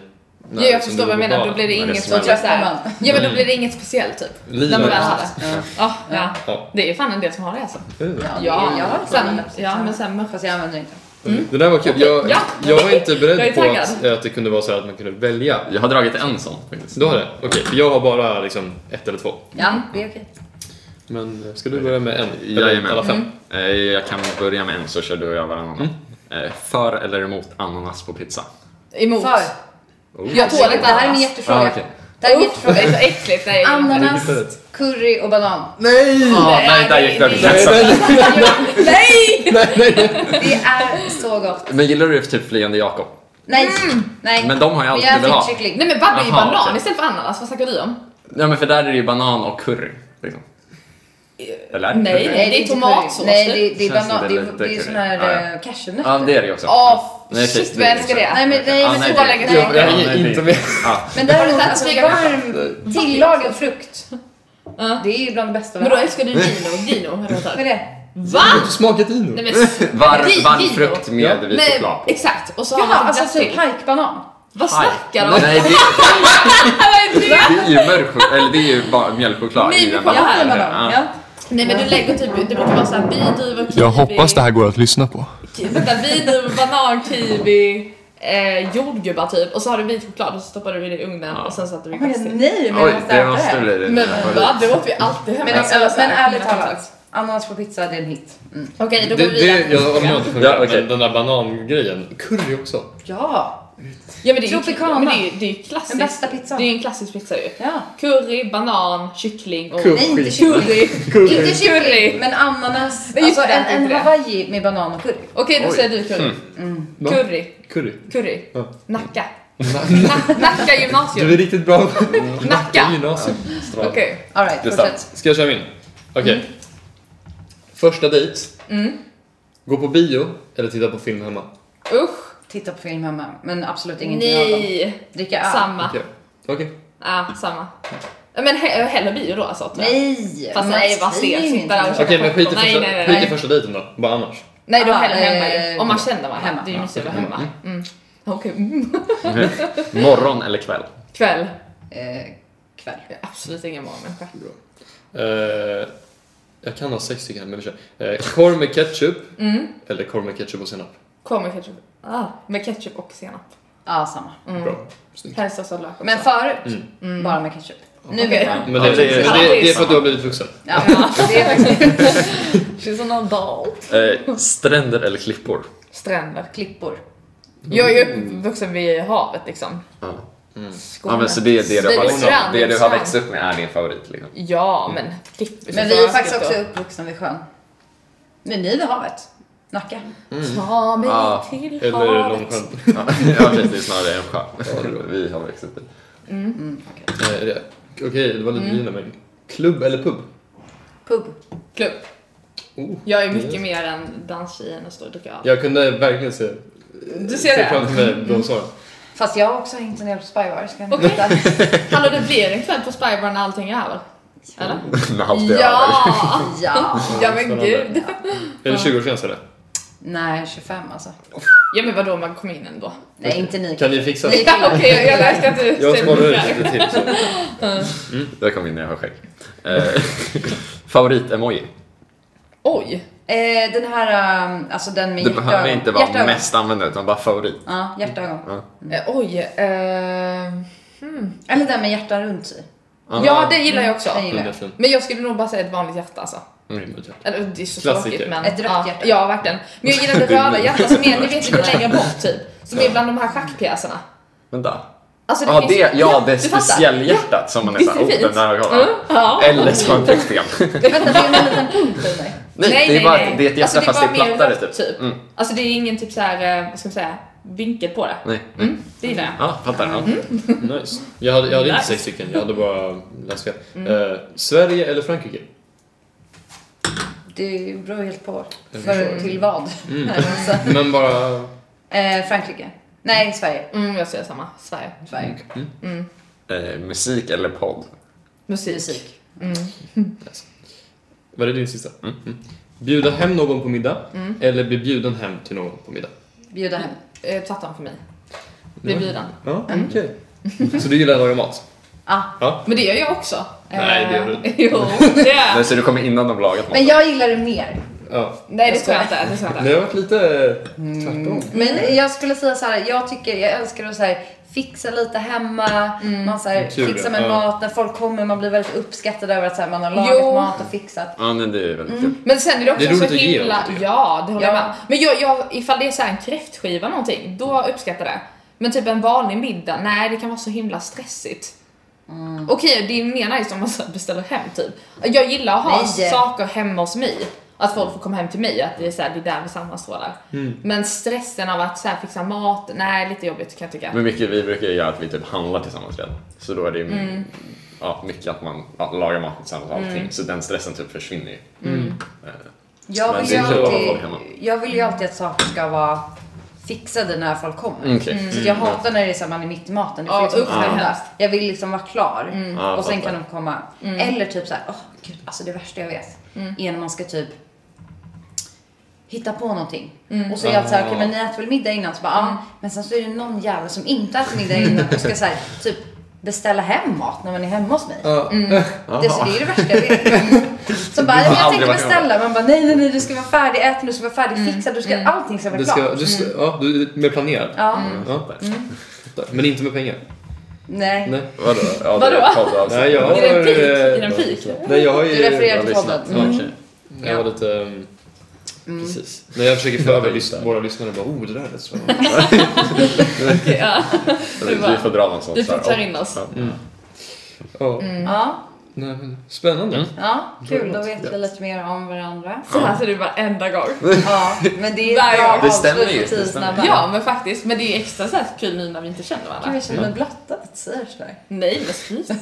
Mm. Ja, jag förstår vad jag menar, då blir det när liksom det inget så smäller. typ såhär, Man. ja men då blir det inget speciellt typ. När man väl har det. Ja, ja. Ja. Det är fan en del som har det alltså. Mm. Ja, Ja, jag har också sen, använt det. ja men sen mörk- Fast jag använder inte. Det där var kul. Jag, mm. ja. jag var inte Jag är beredd på taggad. att, att det kunde vara så här att man kunde välja. Jag har dragit en sån faktiskt. Du har det? Okej, för jag har bara liksom ett eller två. Ja, det är okej. Men eh, ska du börja med en? Eller Jajamän. Alla Mm. fem? Eh, Jag kan börja med en så kör du och jag varannan. Eh, För eller emot ananas på pizza? emot. För. Oh. Jag tål Det inte här är min ananas. jättefråga. Ah, okej. Det här är min Uff, det jättefråga. är så äckligt. Nej. Ananas, Herregud, förut. curry och banan. Nej! Ja, Ah, nej, där gick Nej, det Nej, över nej, nej, Nej! nej, nej. Det är så gott. Men gillar du typ Flyende Jakob? Nej, Mm. nej. Men de har jag alltid jag velat ha. fick kyckling. Nej men vad det är ju Jaha, banan okej. istället för ananas, vad snackar vi om? Ja men för där är det ju banan och curry. Liksom. Eller? nej. Nej, Det är inte tomatsås, curry. Nej, det, det är Känns banan. det Det, lite är- det är sån här curry? Ja, eh, cashewnötter. Ja det är det ju också. Åh Nej, shit precis, vad jag det är älskar det. det. Nej, men nej, Ja, men nej, så det- lägger Jag jag jag Ja, hänger nej, inte det- med. Ja. Men däremot Ja. alltså varm tillagad frukt. Ja. Det är ju bland det bästa Men då har. älskar du Gino, Gino hade jag Vad är sagt. det? Va? Har du smakat i nu? Nej men s- Gi- Varm, varm Gino. frukt med vit Nej, choklad på. exakt. Och så har Jaha, man alltså typ dressing. hajkbanan. Aj. Vad snackar de om? Nej, det, Vad är det? det är ju mörk chok- eller det är ju bara mjölkchoklad Nej, i vi den kollar bananen. här. Ja. Hajkbanan, ja. Nej men du lägger typ, det brukar vara såhär biduvor, kiwi. här går att lyssna på. ki- Vänta, biduvor, banan, kiwi, eh, jordgubbar typ. Och så har du vit choklad och så stoppar du det i ugnen och sen sätter du i Men glass till. Nej, men jag Oj, måste det äta måste bli det. Men va? Det åt vi alltid hemma. Men, Alltså, alltså, så men här, ärligt mina kompisar. talat, ananas på pizza det är en hit. Mm. Okej, Det, då går vi det, jag vidare. håller med om att det funkar, Ja, okej. men den där banangrejen. Curry också. Ja, Ja men det är ju Tropicana. men det är ju- det är ju klassiskt. den bästa pizzan. Det är ju en klassisk pizza ju. Ja. Curry, banan, kyckling och... Curry. Nej, inte kyckling. Curry. Curry. Inte kyckling, men ananas. Nej, just Alltså det, en, inte en det. hawaii med banan och curry. Okej, då Oj. säger du curry. Mm. Va? Curry. Curry. Curry. Mm. Ja. Nacka. Na- Nacka Du är gymnasium. riktigt bra på Nacka. gymnasium. Strål. Okej. All right, Det är fortsätt. Ska jag köra min? Okej. Första dejt. Gå på bio eller titta på film hemma. Usch. Titta på film hemma, men absolut ingenting av dem. Nej. Dricka öl. Samma. Okej. Okej. Ja, samma. Ja, Men he- hellre bio då alltså? tror jag. Nej! Fast nej, vad säger segt. ju Sitta där och ingenting. käka Okej, men skit i, popcorn. Nej, första, nej, nej, skit i nej. första dejten då. Bara annars. Nej, då Ah, hellre hemma ju. eh, Om man känner varandra. hemma. Det är ju mysigt att vara hemma. Mm. Mm. Okej, mm. Morgon eller kväll? kväll. Eh, kväll. Jag är absolut ingen morgonmänniska. Eh, jag kan ha sex stycken här, men vi kör. Eh, korv med ketchup Mm. eller korv med ketchup och senap. Korv med ketchup. Mm. Ah, med ketchup och senap. Ja, samma. Bra. Snyggt. Helst också lök också. Men förut, Mm. bara med ketchup. Nu Okej. vet jag. Men det, Ja, det är- men det, det är för att du har blivit vuxen. Ja, det är faktiskt She's an adult. Eh, stränder eller klippor? Stränder. klippor. Jag är ju uppvuxen vid havet liksom. Ja. Skåne. Mm. ja men så det är det du har, liksom, Strand, det du har strand. växt upp med är din favorit liksom. Ja, men klipp. Men vi är faktiskt också uppvuxna vid sjön. Men ni vid havet. Nacka. Ta mig Mm. Ja, till Eller havet. långsjön. Ja, ja precis, det är snarare en sjö. Vi har växt upp i. Eh, det- Okej, det var lite dina men. Klubb eller pub? Pub. Klubb. Oh. Jag är mycket mer än danstjejen och står och dricker öl. Jag kunde verkligen se, Du ser se det? framför mig blomsåren. Fast jag har också hängt en del på spybar. Ska ni Okej. veta. Hallå, det blir en kväll på Spybar när allting är över. Eller? När allt är över. Ja! Ja. Ja men gud. Är det 20 år sedan så det? Nej, 25 alltså. Ja men vadå, man kom in ändå. Nej, inte ni. Kan ni fixa det? Ja, Okej, jag läste att du Jag säger sparar det ut lite till. Så. Jag kom in när jag har skägg. Eh, Favorit-emoji? Oj! Eh, den här, um, alltså den med Det behöver inte vara Hjärtögon. mest använda utan bara favorit. Ja, hjärtögon. Eh, Oj. Eh, hmm. Eller den med hjärtan runt i. Ja, det gillar jag också. Den gillar Den är jag. fin. Men jag skulle nog bara säga ett vanligt hjärta alltså. Mm, det är Eller det är så Klassiker. tråkigt men... Ett rött ja, hjärta. Ja, verkligen. Men jag gillar det röda hjärtat som är, ni vet lite längre bort typ. Som är bland de här schackpjäserna. Vänta. Alltså, Ja, det, ja, det du fattar. speciellhjärtat som man är Visst såhär, är oh det den fint? där har jag Mm, kollat. ja. Eller så har jag tryckt fel. Vänta, det är en liten punkt under. Nej, det är bara det är ett hjärta Alltså, fast det bara är mer plattare rött, typ. Mm. Alltså det är ingen typ så här, eh, vad ska man säga, vinkel på det. Nej. Mm, det gillar jag. Ja, fattar. Ja. Nice. Jag hade, jag hade inte Nice. Mm. sex stycken, jag hade bara läst fel. Eh, Sverige eller Frankrike? Det beror helt på. Jag För, förstår. till vad? Alltså, Men bara... eh, Frankrike. Nej, Sverige. Mm. Mm, jag säger samma. Sverige. Sverige. Mm. Eh, musik eller podd? Musik. Musik. Var det din sista? Mm. Bjuda hem någon på middag Mm. eller bli bjuden hem till någon på middag? Bjuda hem. Eh, Tvärtom för mig. Bli bjuden. Ja, okej. Så du gillar att laga mat? Ja. Ja. Men det gör jag också. Nej, det gör du inte. Jo, det gör jag. Men, så du kommer innan de lagat Men maten? jag gillar det mer. ja. Nej, det tror jag inte. Det tror jag Ni inte. har varit lite Mm. tvärtom. Men jag skulle säga så här, jag tycker, jag älskar att så här, fixa lite hemma, man så här, Kul, fixar med ja. mat, när folk kommer, man blir väldigt uppskattad över att så här, man har lagat Jo. mat och fixat. Ja, nej, det är väldigt kul. Men sen är det också Det är roligt så att ge himla... dem, tycker ja, det håller jag Ja. med. Men jag, jag, ifall det är så här en kräftskiva någonting, då uppskattar jag det. Men typ en vanlig middag, nej det kan vara så himla stressigt. Mm. Okej, det är mer nice om man så här beställer hem typ. Jag gillar att ha Nej. saker hemma hos mig. Att folk får komma hem till mig, att det är, så här, det är där vi sammanstrålar. Men stressen av att så här, fixa mat, nej lite jobbigt kan jag tycka. Men mycket, vi brukar ju göra att vi typ handlar tillsammans redan. Så då är det ju Mm. ja, mycket att man ja, lagar mat tillsammans och allting. Så den stressen typ försvinner ju. Eh, Jag Men vill, det ju är kul att ha alltid, folk hemma. jag vill ju alltid att saker ska vara fixade när folk kommer. Mm, Okej. Så jag hatar när det är så här, man är mitt i maten. Det får Ja, liksom inte usch, hända. hemskt. Jag vill liksom vara klar Ja, och sen fattar. kan de komma. Eller typ så här, åh gud, alltså det värsta jag vet är när man ska typ hitta på någonting. Och så är jag alltid så här, Ah. okej men ni äter väl middag innan? Så bara, ja. Men sen så är det någon jävel som inte äter middag innan och ska så här, typ beställa hem mat när man är hemma hos mig. Ja. Mm, Det, så det är det värsta jag vet. Som bara, jag aldrig varit tänkte med om beställa. Man bara, nej, nej, nej, du ska vara färdig, ät nu, du ska vara färdig, fixa, du ska, allting ska vara Det ska, klart. du, Mm. ja, du är mer planerad. Ja, Ja. Fattar. Men inte med pengar. nej. Mm. Nej. Vadå? Ja, Vadå? det är kallt av sig. Nej, jag har... Är det en pik? Är det Mm. en eh, pik? Nej, jag har ju... Du refererar Jag har till lyssnat. podden. Okej. Jag var lite... ehm, Precis. När jag försöker förbereda lys- våra lyssnare bara oh det där lät spännande. Ja. Så vi- Vi får dra någon sån. Vi får så här, klä in oss. Mm. ja. Mm. Ja. Ja, Nej, men spännande. Mm. ja, kul. Då vet vi lite mer om varandra. Så här ser det ut varenda gång. Ja, men det är Varje ett bra gång. Det stämmer avslut ju, på det stämmer. tidsnabba. Ja men faktiskt, men det är extra så här kul nu när vi inte känner Gud, varandra. jag känner mig blottad att säga sådär. Nej men sluta.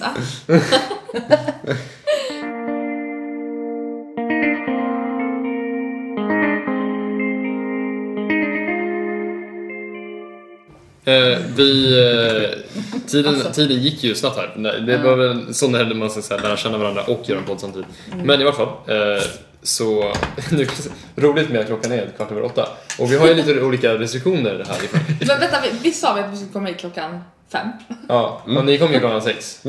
Eh, vi, eh, tiden, tiden gick ju snabbt här. Nej, Det var väl en sån där man ska säga, lära känna varandra och göra en podd samtidigt. Men i vart fall. Eh, så nu, roligt med att klockan är kvart över åtta. Och vi har ju lite olika restriktioner här. Men vänta, vi, vi sa vi att vi skulle komma hit klockan fem? Ja, Mm. och ni kom ju klockan sex.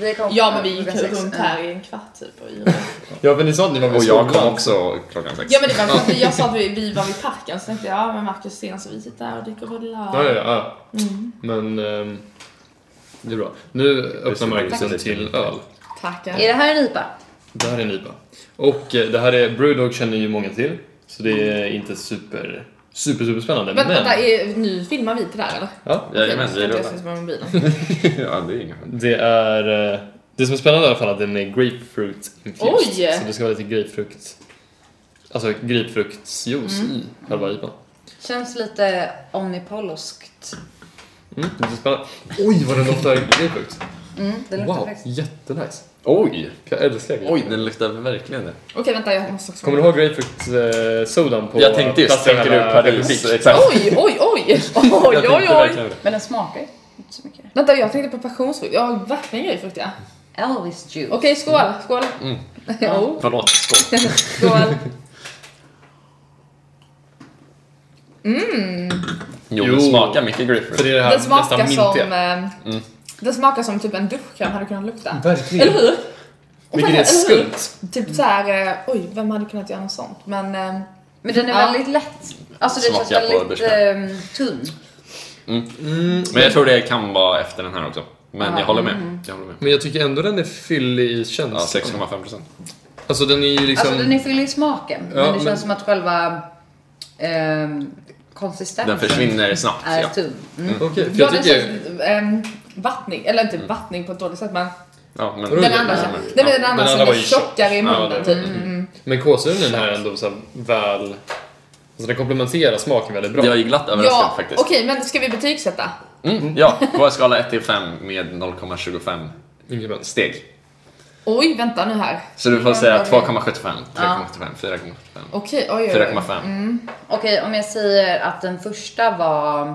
Vi kom- Ja men vi gick klockan sex. runt här i en kvart typ och i- Ja, men ni sa att ni var vid Och jag kom skolan. också klockan sex. Ja men det var för att vi- jag sa att vi, vi var vid parken så tänkte jag ja men Marcus Sten så vi sitter här och Mm. dricker vodka. Ja, ja, ja. Men ehm, det är bra. Nu öppnar Marcus en till öl. Tackar. Är det här en IPA? Det här är en IPA. Och eh, det här är Brewdog känner ju många till. Så det är inte super, super, super spännande. Men vänta, Men är, nu filmar vi till det här eller? ja, Jajamän, vi Okej, jag rullar. ska inte med mobilen. Ja, det är inga det är... eh, Det som är spännande i alla fall är att den är grapefruit infused. Oj! Så det ska vara lite grapefrukt... Alltså grapefruktsjuice Mm. i själva IPAn. Känns lite omnipoloskt. Mm, det är spännande. Oj, vad den doftar grapefrukt. Mm, det luktar Wow, faktiskt. jättenice. Oj! Jag älskar grapefrukt. Oj, den luktar verkligen det. Okej vänta jag måste också... Kommer du ha grapefrukt-sodan på Jag tänkte just, platsen tänker du hela Paris? republik? Exakt. Oj, oj, oj! Oj, Jag oj, tänkte oj! verkligen det. Men den smakar ju inte så mycket. Vänta jag tänkte på passionsfrukt, jag har verkligen grejfrukt ja. Elvis juice. Okej skål, skål! Mm. Jo, Förlåt, skål. skål. Jo, Jo. det smakar mycket För grapefruit. det är det här Den nästan Mm. smakar som... mintiga. Eh, Den smakar som typ en duschkräm hade kunnat lukta. Verkligen. Eller hur? Vilket är Eller hur? skumt. Typ såhär, eh, oj vem hade kunnat göra något sånt? Men eh, Men den är Ja. väldigt lätt. Alltså den känns Smakar på väldigt duschkräm. ehm, tunn. Mm, Men jag tror det kan vara efter den här också. Men Ja, jag håller Mm. med. Jag håller med. Men jag tycker ändå den är fyllig i Ja, känslan. 6,5 procent. alltså den är ju liksom... Alltså den är fyllig i smaken. men Ja, det men- känns som att själva ehm, konsistensen Den försvinner snabbt. är Ja. tunn. Mm. Okej, för ja, jag den tycker... känns ehm, vattning, eller inte vattning på ett dåligt sätt men Ja, men Den den Mm. andra, Ja, ja, men- nej, men den andra Den som andra är var ju tjock. tjockare i Ja, munnen det- typ. Men kolsyran i den här är ändå så här väl... Alltså den komplementerar smaken väldigt bra. Jag är glatt överraskad Ja, okej faktiskt. men ska vi betygsätta? Mm, ja, på en skala 1 till 5 med 0,25 Ingrediens. steg. Oj vänta nu här. Så du får säga 2,75, 3,75, 4,75, Okej, oj oj, oj. 4,5. Okej, om jag säger att den första var...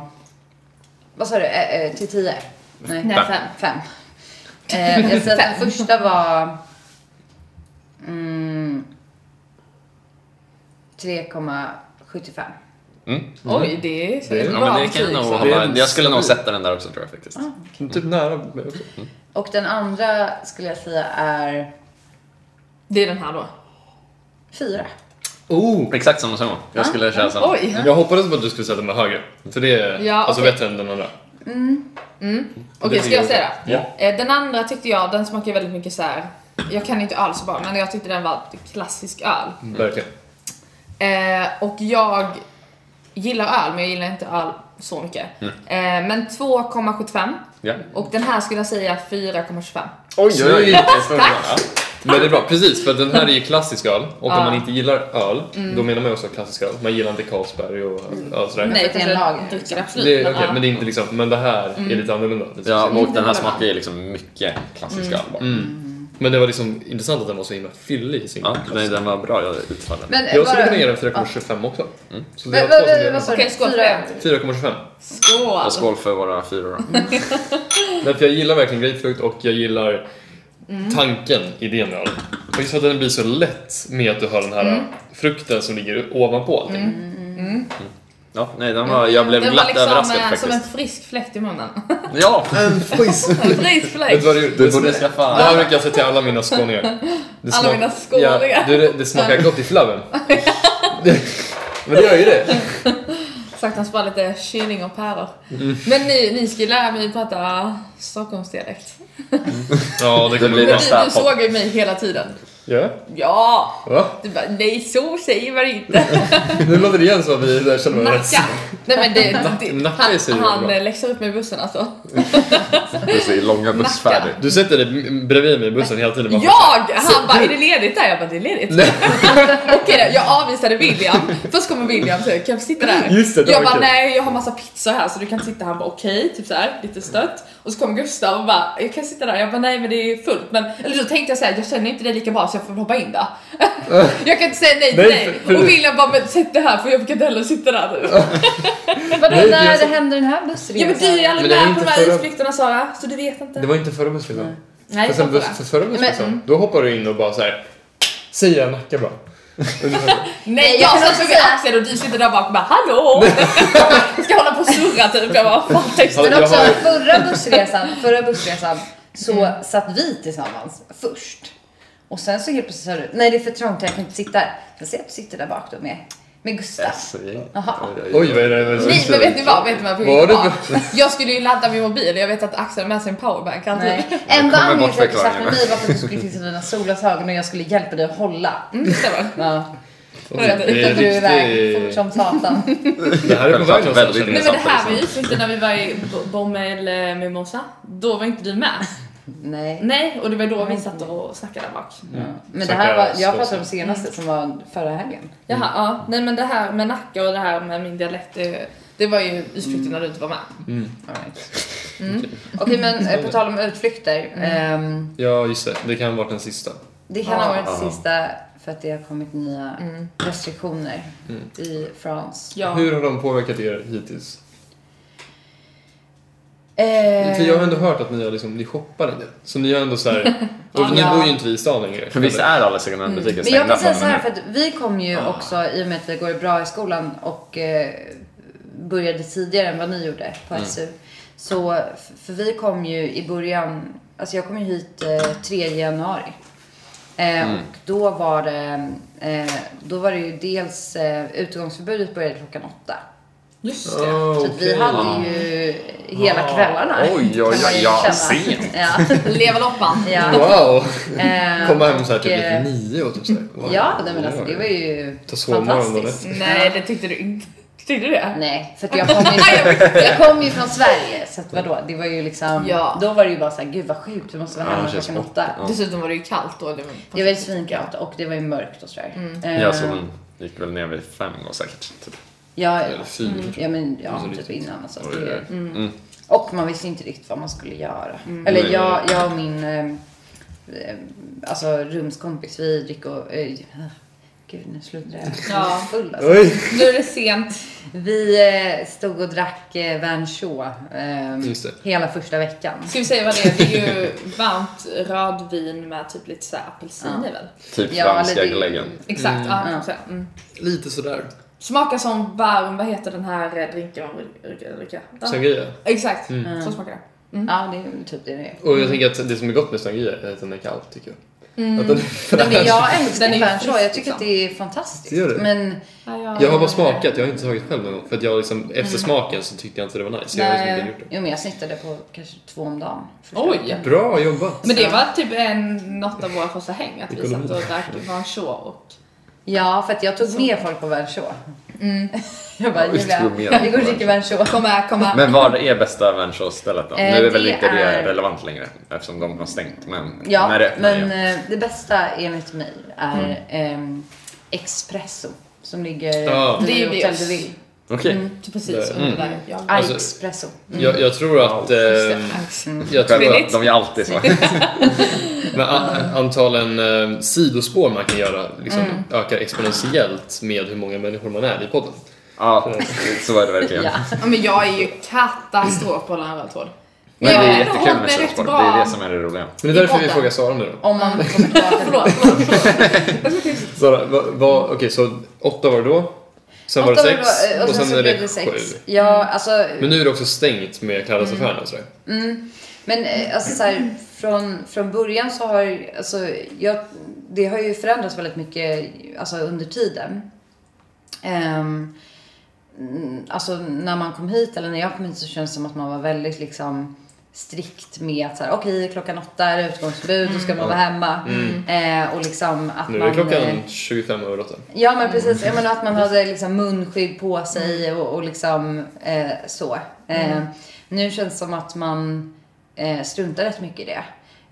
Vad sa du? Eh, eh, till tio? Nej, Nej, fem. fem. Eh, jag säger att den första var... Mm, 3,75. Mm. Oj, det är Det- ett Ja, bra men det kan betyg. Ah. jag nog så. Det är hålla. en Jag skulle nog stabil. sätta den där också tror jag faktiskt. Typ nära. Och den andra skulle jag säga är Det är den här då. fyra. Oh! Exakt samma summa. Jag skulle köra samma. Ah. Oj! Jag hoppades på att du skulle sätta mig högre. För det är Ja, alltså okej. bättre än den andra. Okej, ska jag säga det? Ja. Eh, Den andra tyckte jag, den smakar väldigt mycket så här. jag kan inte öl så bra, men jag tyckte den var klassisk öl. Mm. Verkligen. Eh, och jag gillar öl, men jag gillar inte öl så mycket. Mm. Eh, men 2,75 Ja. och den här skulle jag säga 4,25. Oj, oj, oj. Snyggt. Ja. Men det är bra, precis. För den här är ju klassisk öl. Och Ja. Mm. om man inte gillar öl, då menar man ju också klassisk öl. Man gillar inte Carlsberg och öl sådär. Nej, det är en lager. liksom. Dricker Mm. absolut. Det, är- men, okej, ja. Mm. men det är inte liksom, men det här är lite annorlunda. Det är Ja, liksom- och den här smakar ju liksom mycket klassisk Mm. öl bara. Men det var liksom intressant att den var så himla fyllig i sin Ja, klass. nej, den var bra jag utfallen. Men Jag bara- skulle kunna ge den 4,25 också. Så det Men är vad- två som vad- delar vad sa du? Okej, skål för Fyra. det. 4,25. Skål! Och skål för våra fyror då. Nej, för jag gillar verkligen grapefrukt och jag gillar Mm. tanken, idén med öl. Och just för att den blir så lätt med att du har den här Mm. frukten som ligger ovanpå allting. Ja, nej, den var, jag blev Den glatt var liksom överraskad eh, som en faktiskt. frisk fläkt i munnen. Ja! en frisk Vet fläkt! du vad det Du borde det, skaffa... det här brukar jag säga till alla mina skåningar. Det Alla mina skåningar. Ja, det, det smakar gott i flabben. Det- Men det gör ju det. Saknas bara lite kylling och pärlor. Mm. Men ni, ni skulle lära mig prata Stockholmsdialekt. Ja, det kommer blir bli bra. Du, det. Nästa du podd. såg ju mig hela tiden. Ja, Ja! va? Du bara, nej så säger man inte. Nu låter det igen som att vi där känner varandra rätt. Nacka! Nej men det, det Nacka är så han, han bra. eh, läxar upp mig i bussen alltså. Precis, långa bussfärder. Du sätter dig m- bredvid mig i bussen hela tiden. bara- Jag! Han bara, är det ledigt där? Jag bara, det är ledigt. Okej då, jag avvisade William. Först kommer William och säger, kan jag få sitta där? Just det, det jag var bara, kul. nej jag har massa pizza här så du kan sitta. Han bara, okej, typ såhär, lite stött. Och så kom Gustav och bara, jag kan sitta där. Jag bara, nej men det är fullt. Men, eller så tänkte jag såhär, jag känner inte dig lika bra så jag får väl hoppa in där. jag kan inte säga nej till Nej, dig. för- för- Och William bara, men sätt dig här för jag kan inte heller sitta där nu. Vadå, Nej, när jag det sa- hände den här bussresan? Ja men du är aldrig Men det är med på inte de här förra- isflykterna Sara, så du vet inte. Det var inte förra bussresan. Nej, För, sen, jag bus- fattar för förra bussresan, då hoppar du in och bara så här. Säger jag Nacka bra? Ungefär. Nej jag jag kan satt också på en axel och du sitter där bak och bara hallå! Ska hålla på och surra typ. Jag bara fan texten. Men Jag också har- förra bussresan, förra bussresan så satt vi tillsammans först. Och sen så helt plötsligt sa du, nej det är för trångt jag kan inte sitta här. Sen ser jag att du sitter där bak då med, med Gustav. Jaha. Oj, vad är det? vad är det- Nej men vet ni vad? Vet ni vad Vad var jag det var? Jag skulle ju ladda min mobil och jag vet att Axel har med sig en powerbank typ- alltid. Nej. Enda kommer anledningen bort till att du satt med förklaringen. mig var för att du skulle fixa dina solglasögon och jag skulle hjälpa dig att hålla. Mm, det stämmer. Ja. Oj, det Du är är iväg fort riktigt- som satan. Det här är på väg Självklart, någonstans. väldigt känner jag. Nej men det här var ju inte när vi var i Bo- Bommel eh, Mimosa. Då var inte du med. Nej. Nej och det var då vi satt och snackade där bak. Men det Snacka här var, jag slåss. pratade om senaste som var förra helgen. Jaha, ja. Nej men det här med Nacka och det här med min dialekt. Det, det var ju utflykten när du inte var med. All right. Mm. Okej men eh, på tal om utflykter. ehm, Ja, just det. Det kan ha varit den sista. Det kan ha varit Ja. sista för att det har kommit nya restriktioner i France. Ja. Hur har de påverkat er hittills? Eh, För jag har ändå hört att ni, har liksom, ni shoppar en del. Så ni har ändå så här... Och nu Ja. bor ju inte vi i stan längre. För visst är alla second hand-butiker men jag stängda kan från säga och så här med för att vi kom ju också i och med att det går bra i skolan och eh, började tidigare än vad ni gjorde på SU. Så, f- för vi kom ju i början, alltså jag kom ju hit eh, 3 januari. Eh, Och då var det, eh, då var det ju dels eh, utgångsförbudet började klockan åtta. Just det. Ah, Så att vi okej. hade ju hela kvällarna. Oj, oj, kan man ju oj, ja, känna. sent. Ja, Leva loppan. ja. Wow! Eh, Komma hem så här typ och, lite eh, nio och typ så här. wow. Ja, nej, men alltså det var ju Ta sovmorgon då, fantastiskt. Nej, det tyckte du inte. Tyckte du det? Nej, för att jag kom ju från, jag kom ju från Sverige. Så att vadå, det var ju liksom, Ja. då var det ju bara såhär, gud vad sjukt, du måste vara Ja, hemma det känns klockan bort. åtta. Ja. Dessutom var det ju kallt då. Det var, Det var ju svinkallt och det var ju mörkt och sådär. Mm. Eh, Ja, så den gick väl ner vid fem gånger säkert. Typ. ja, Eller fyra kanske. ja, men ja, Mm. typ innan. Alltså, Oj, det, oj, oj. Mm. Och man visste inte riktigt vad man skulle göra. Mm. Eller Nej. jag, jag och min eh, eh, alltså, rumskompis, vi dricker och... Eh, gud, nu sluddrar jag. Jag är Ja. full alltså. Oj! Nu är det sent. Vi eh, stod och drack eh, Van Shaw eh, Just det. hela första veckan. Ska vi säga vad det är? Det är ju varmt rödvin med typ lite så här apelsin i väl? Typ Ja, franska eller det- glöggen. Exakt, ja. Så, här, mm. Lite sådär. Smakar som varm, vad heter den här eh, drinken man brukar dricka? Den- Sangria. Exakt, Mm. så smakar det. Ja, det är typ det det är. Och jag tänker att det som är gott med sangria är att den är kall, tycker jag. Att den, Nej, men jag älskar Den är ju den så. frisk, Jag tycker att liksom. det är fantastiskt. Det gör det. Men jag har bara smakat, jag har inte tagit själv någon gång. För att jag liksom, efter smaken så tyckte jag inte det var nice. Jag har liksom Nej. inte gjort jo, men jag snittade på kanske två om dagen. första Oj! det. Bra jobbat! Men det var typ en, något av våra första häng, att vi Ekonomi. satt och drack Rancho och... Ja, för att jag tog med folk på Vernshaw. Jag bara, Ja, just Julia, tog med vi går dem. och dricker Vernshaw. Mm. Kom här, kom här. Men var är bästa Värnsås-stället då? Eh, nu är väl det inte det är- relevant längre eftersom de har stängt. Men när det Ja, öppnar men igen. eh, det bästa enligt mig Mm. är ehm, Espresso. Som ligger Ja. vid Det är Hotel det. de Ville. Okej. Precis, Mm. under där. Ja. Ah, Alltså- Expresso. Jag, jag tror att... ehm, jag tror att Kvinnligt. De gör alltid så. Men an- antalen eh, sidospår man kan göra liksom, ökar exponentiellt med hur många människor man är i podden. ja, så är det verkligen. Ja. Ja, men jag är ju katastrof på att hålla en röd tråd. Men Ja, det är de har jättekul med varit surfsport. Det bra. är det som är det roliga. Men det är därför vi podden. frågar Sara nu då. Om man kommer tillbaka till Förlåt, förlåt. Sara, va, va, okej så åtta var det då, sen var det Åtta sex var det- eh, och sen så är blev det sex. sju. Ja, alltså, Men nu är det också stängt med Claras Mm. affären och sådär. men eh, alltså, så här, från, från början så har alltså, jag, det har ju förändrats väldigt mycket alltså, under tiden. Ehm, mm, alltså när man kom hit eller när jag kom hit så känns det som att man var väldigt liksom strikt med att så här, okej klockan åtta är det utgångsförbud, då ska man vara hemma. Eh, och liksom att Mm. Nu man, är det eh, klockan 25 över åtta. Ja men precis, Mm. jag menar att man hade liksom munskydd på sig och, och liksom eh, så. Eh, Mm. Nu känns det som att man eh, struntar rätt mycket i det.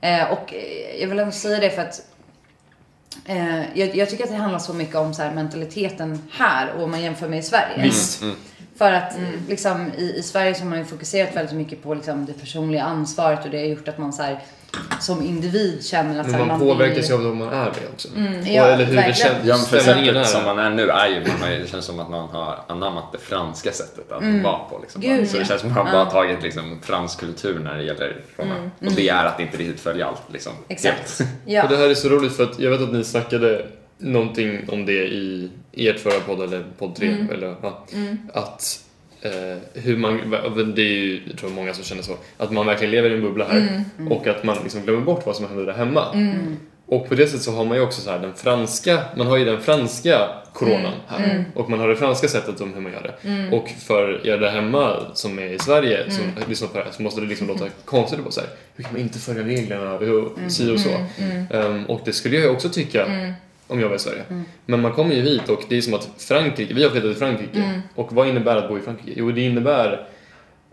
Eh, och eh, jag vill ändå säga det för att eh, jag, jag tycker att det handlar så mycket om så här, mentaliteten här och om man jämför med i Sverige. Visst. För att Mm. liksom, i, i Sverige så har man ju fokuserat väldigt mycket på liksom, det personliga ansvaret och det har gjort att man så här, som individ känner att så Men här, man alltså, blir- Mm, påverkas ju av de man är med också. Och, Ja, eller hur det verkligen. känns. Ja, men för stämningen sättet som är. man är nu är ju, man har, ju- det känns som att man har anammat det franska sättet att Mm. vara på. Liksom. Gud, så det ja. känns som att man bara har tagit liksom, fransk kultur när det gäller Roma. Mm. Och det är att inte riktigt följa allt. Liksom, Exakt. helt. Ja. Och det här är så roligt för att jag vet att ni snackade någonting om det i ert förra podd eller podd 3 Mm. eller ja, att eh, hur man, det är ju jag tror många som känner så, att man verkligen lever i en bubbla här Mm. och att man liksom glömmer bort vad som händer där hemma. Och på det sättet så har man ju också så här den franska, man har ju den franska coronan här och man har det franska sättet om hur man gör det. Och för er där hemma som är i Sverige som lyssnar på det här så måste det liksom låta konstigt och bara så här, hur kan man inte följa reglerna och si och så. Ehm, och det skulle jag ju också tycka om jag var i Sverige. Men man kommer ju hit och det är som att Frankrike, vi har flyttat till Frankrike och vad innebär att bo i Frankrike? Jo, det innebär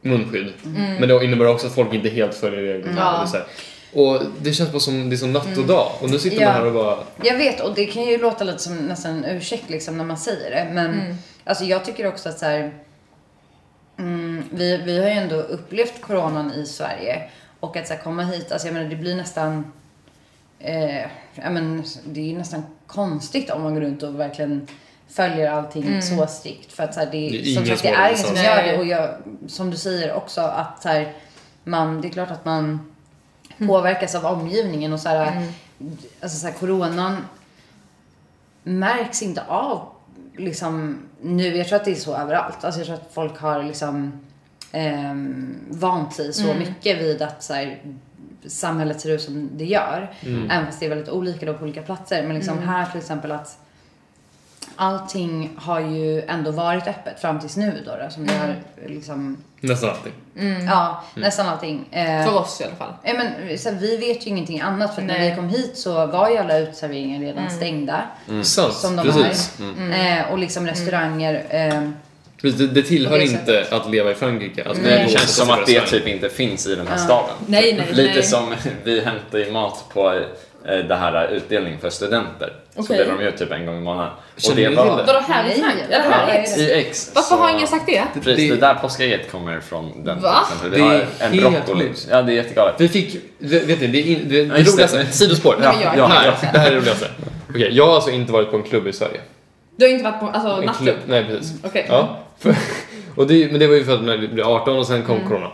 munskydd. Men det innebär också att folk inte helt följer reglerna. Ja. eller så här. Och det känns bara som, det är som natt och dag. Och nu sitter Mm. Ja. man här och bara... Jag vet och det kan ju låta lite som nästan en ursäkt liksom när man säger det. Men alltså jag tycker också att så här, mm, vi, vi har ju ändå upplevt coronan i Sverige. Och att så här, komma hit, alltså jag menar det blir nästan, eh, ja, men, det är ju nästan konstigt om man går runt och verkligen följer allting så strikt. För att så här, det, Det är är som ingen sagt, det som är har ingen som det. gör Nej. det. Och jag, som du säger också att så här, man, det är klart att man påverkas av omgivningen och så här, alltså så här, coronan märks inte av liksom nu. Jag tror att det är så överallt. Alltså jag tror att folk har liksom ehm, vant sig så mycket vid att så här, samhället ser ut som det gör. Även fast det är väldigt olika då på olika platser. Men liksom här till exempel att allting har ju ändå varit öppet fram tills nu då, då som det har liksom, Nästan allting. ja, nästan allting. Eh, För oss i alla fall. Ja, men, så här, vi vet ju ingenting annat för att när Nej. Mm. vi kom hit så var ju alla uteserveringar redan stängda. Mm. Sant, Som de precis. Mm. har. Eh, och liksom restauranger. Mm. Eh, precis. Det, det tillhör På det inte att leva i Frankrike. Att Det gå och känns som sätta att sig det på restaurang. typ inte finns i den här staden. Nej, nej, Lite nej. som vi hämtar ju mat på eh, det här utdelningen för studenter. Så Okej. delar de ut typ en gång i månaden. Och Känner det ni var... till Vadå här i Nej, Frankrike? det Eller här här i är X? det. I X. Varför så- har ingen sagt det? typ- Precis, Det- det där påskägget kommer från den Va? till exempel. Det Vi är har en helt broccoli. sjukt. Ja, det är jättegalet. Vi fick, vet ni, det, är in, det, det just det. roligaste, sidospår. Nej, men jag är Ja, Nej, helt- det här är det roligaste. Okej, jag har alltså inte varit på en klubb i Sverige. Du har inte varit på alltså, En klubb, nattklubb? nej precis. Okej. Ja. För, och det, men det var ju för att när jag blev 18 Mm. och sen kom corona.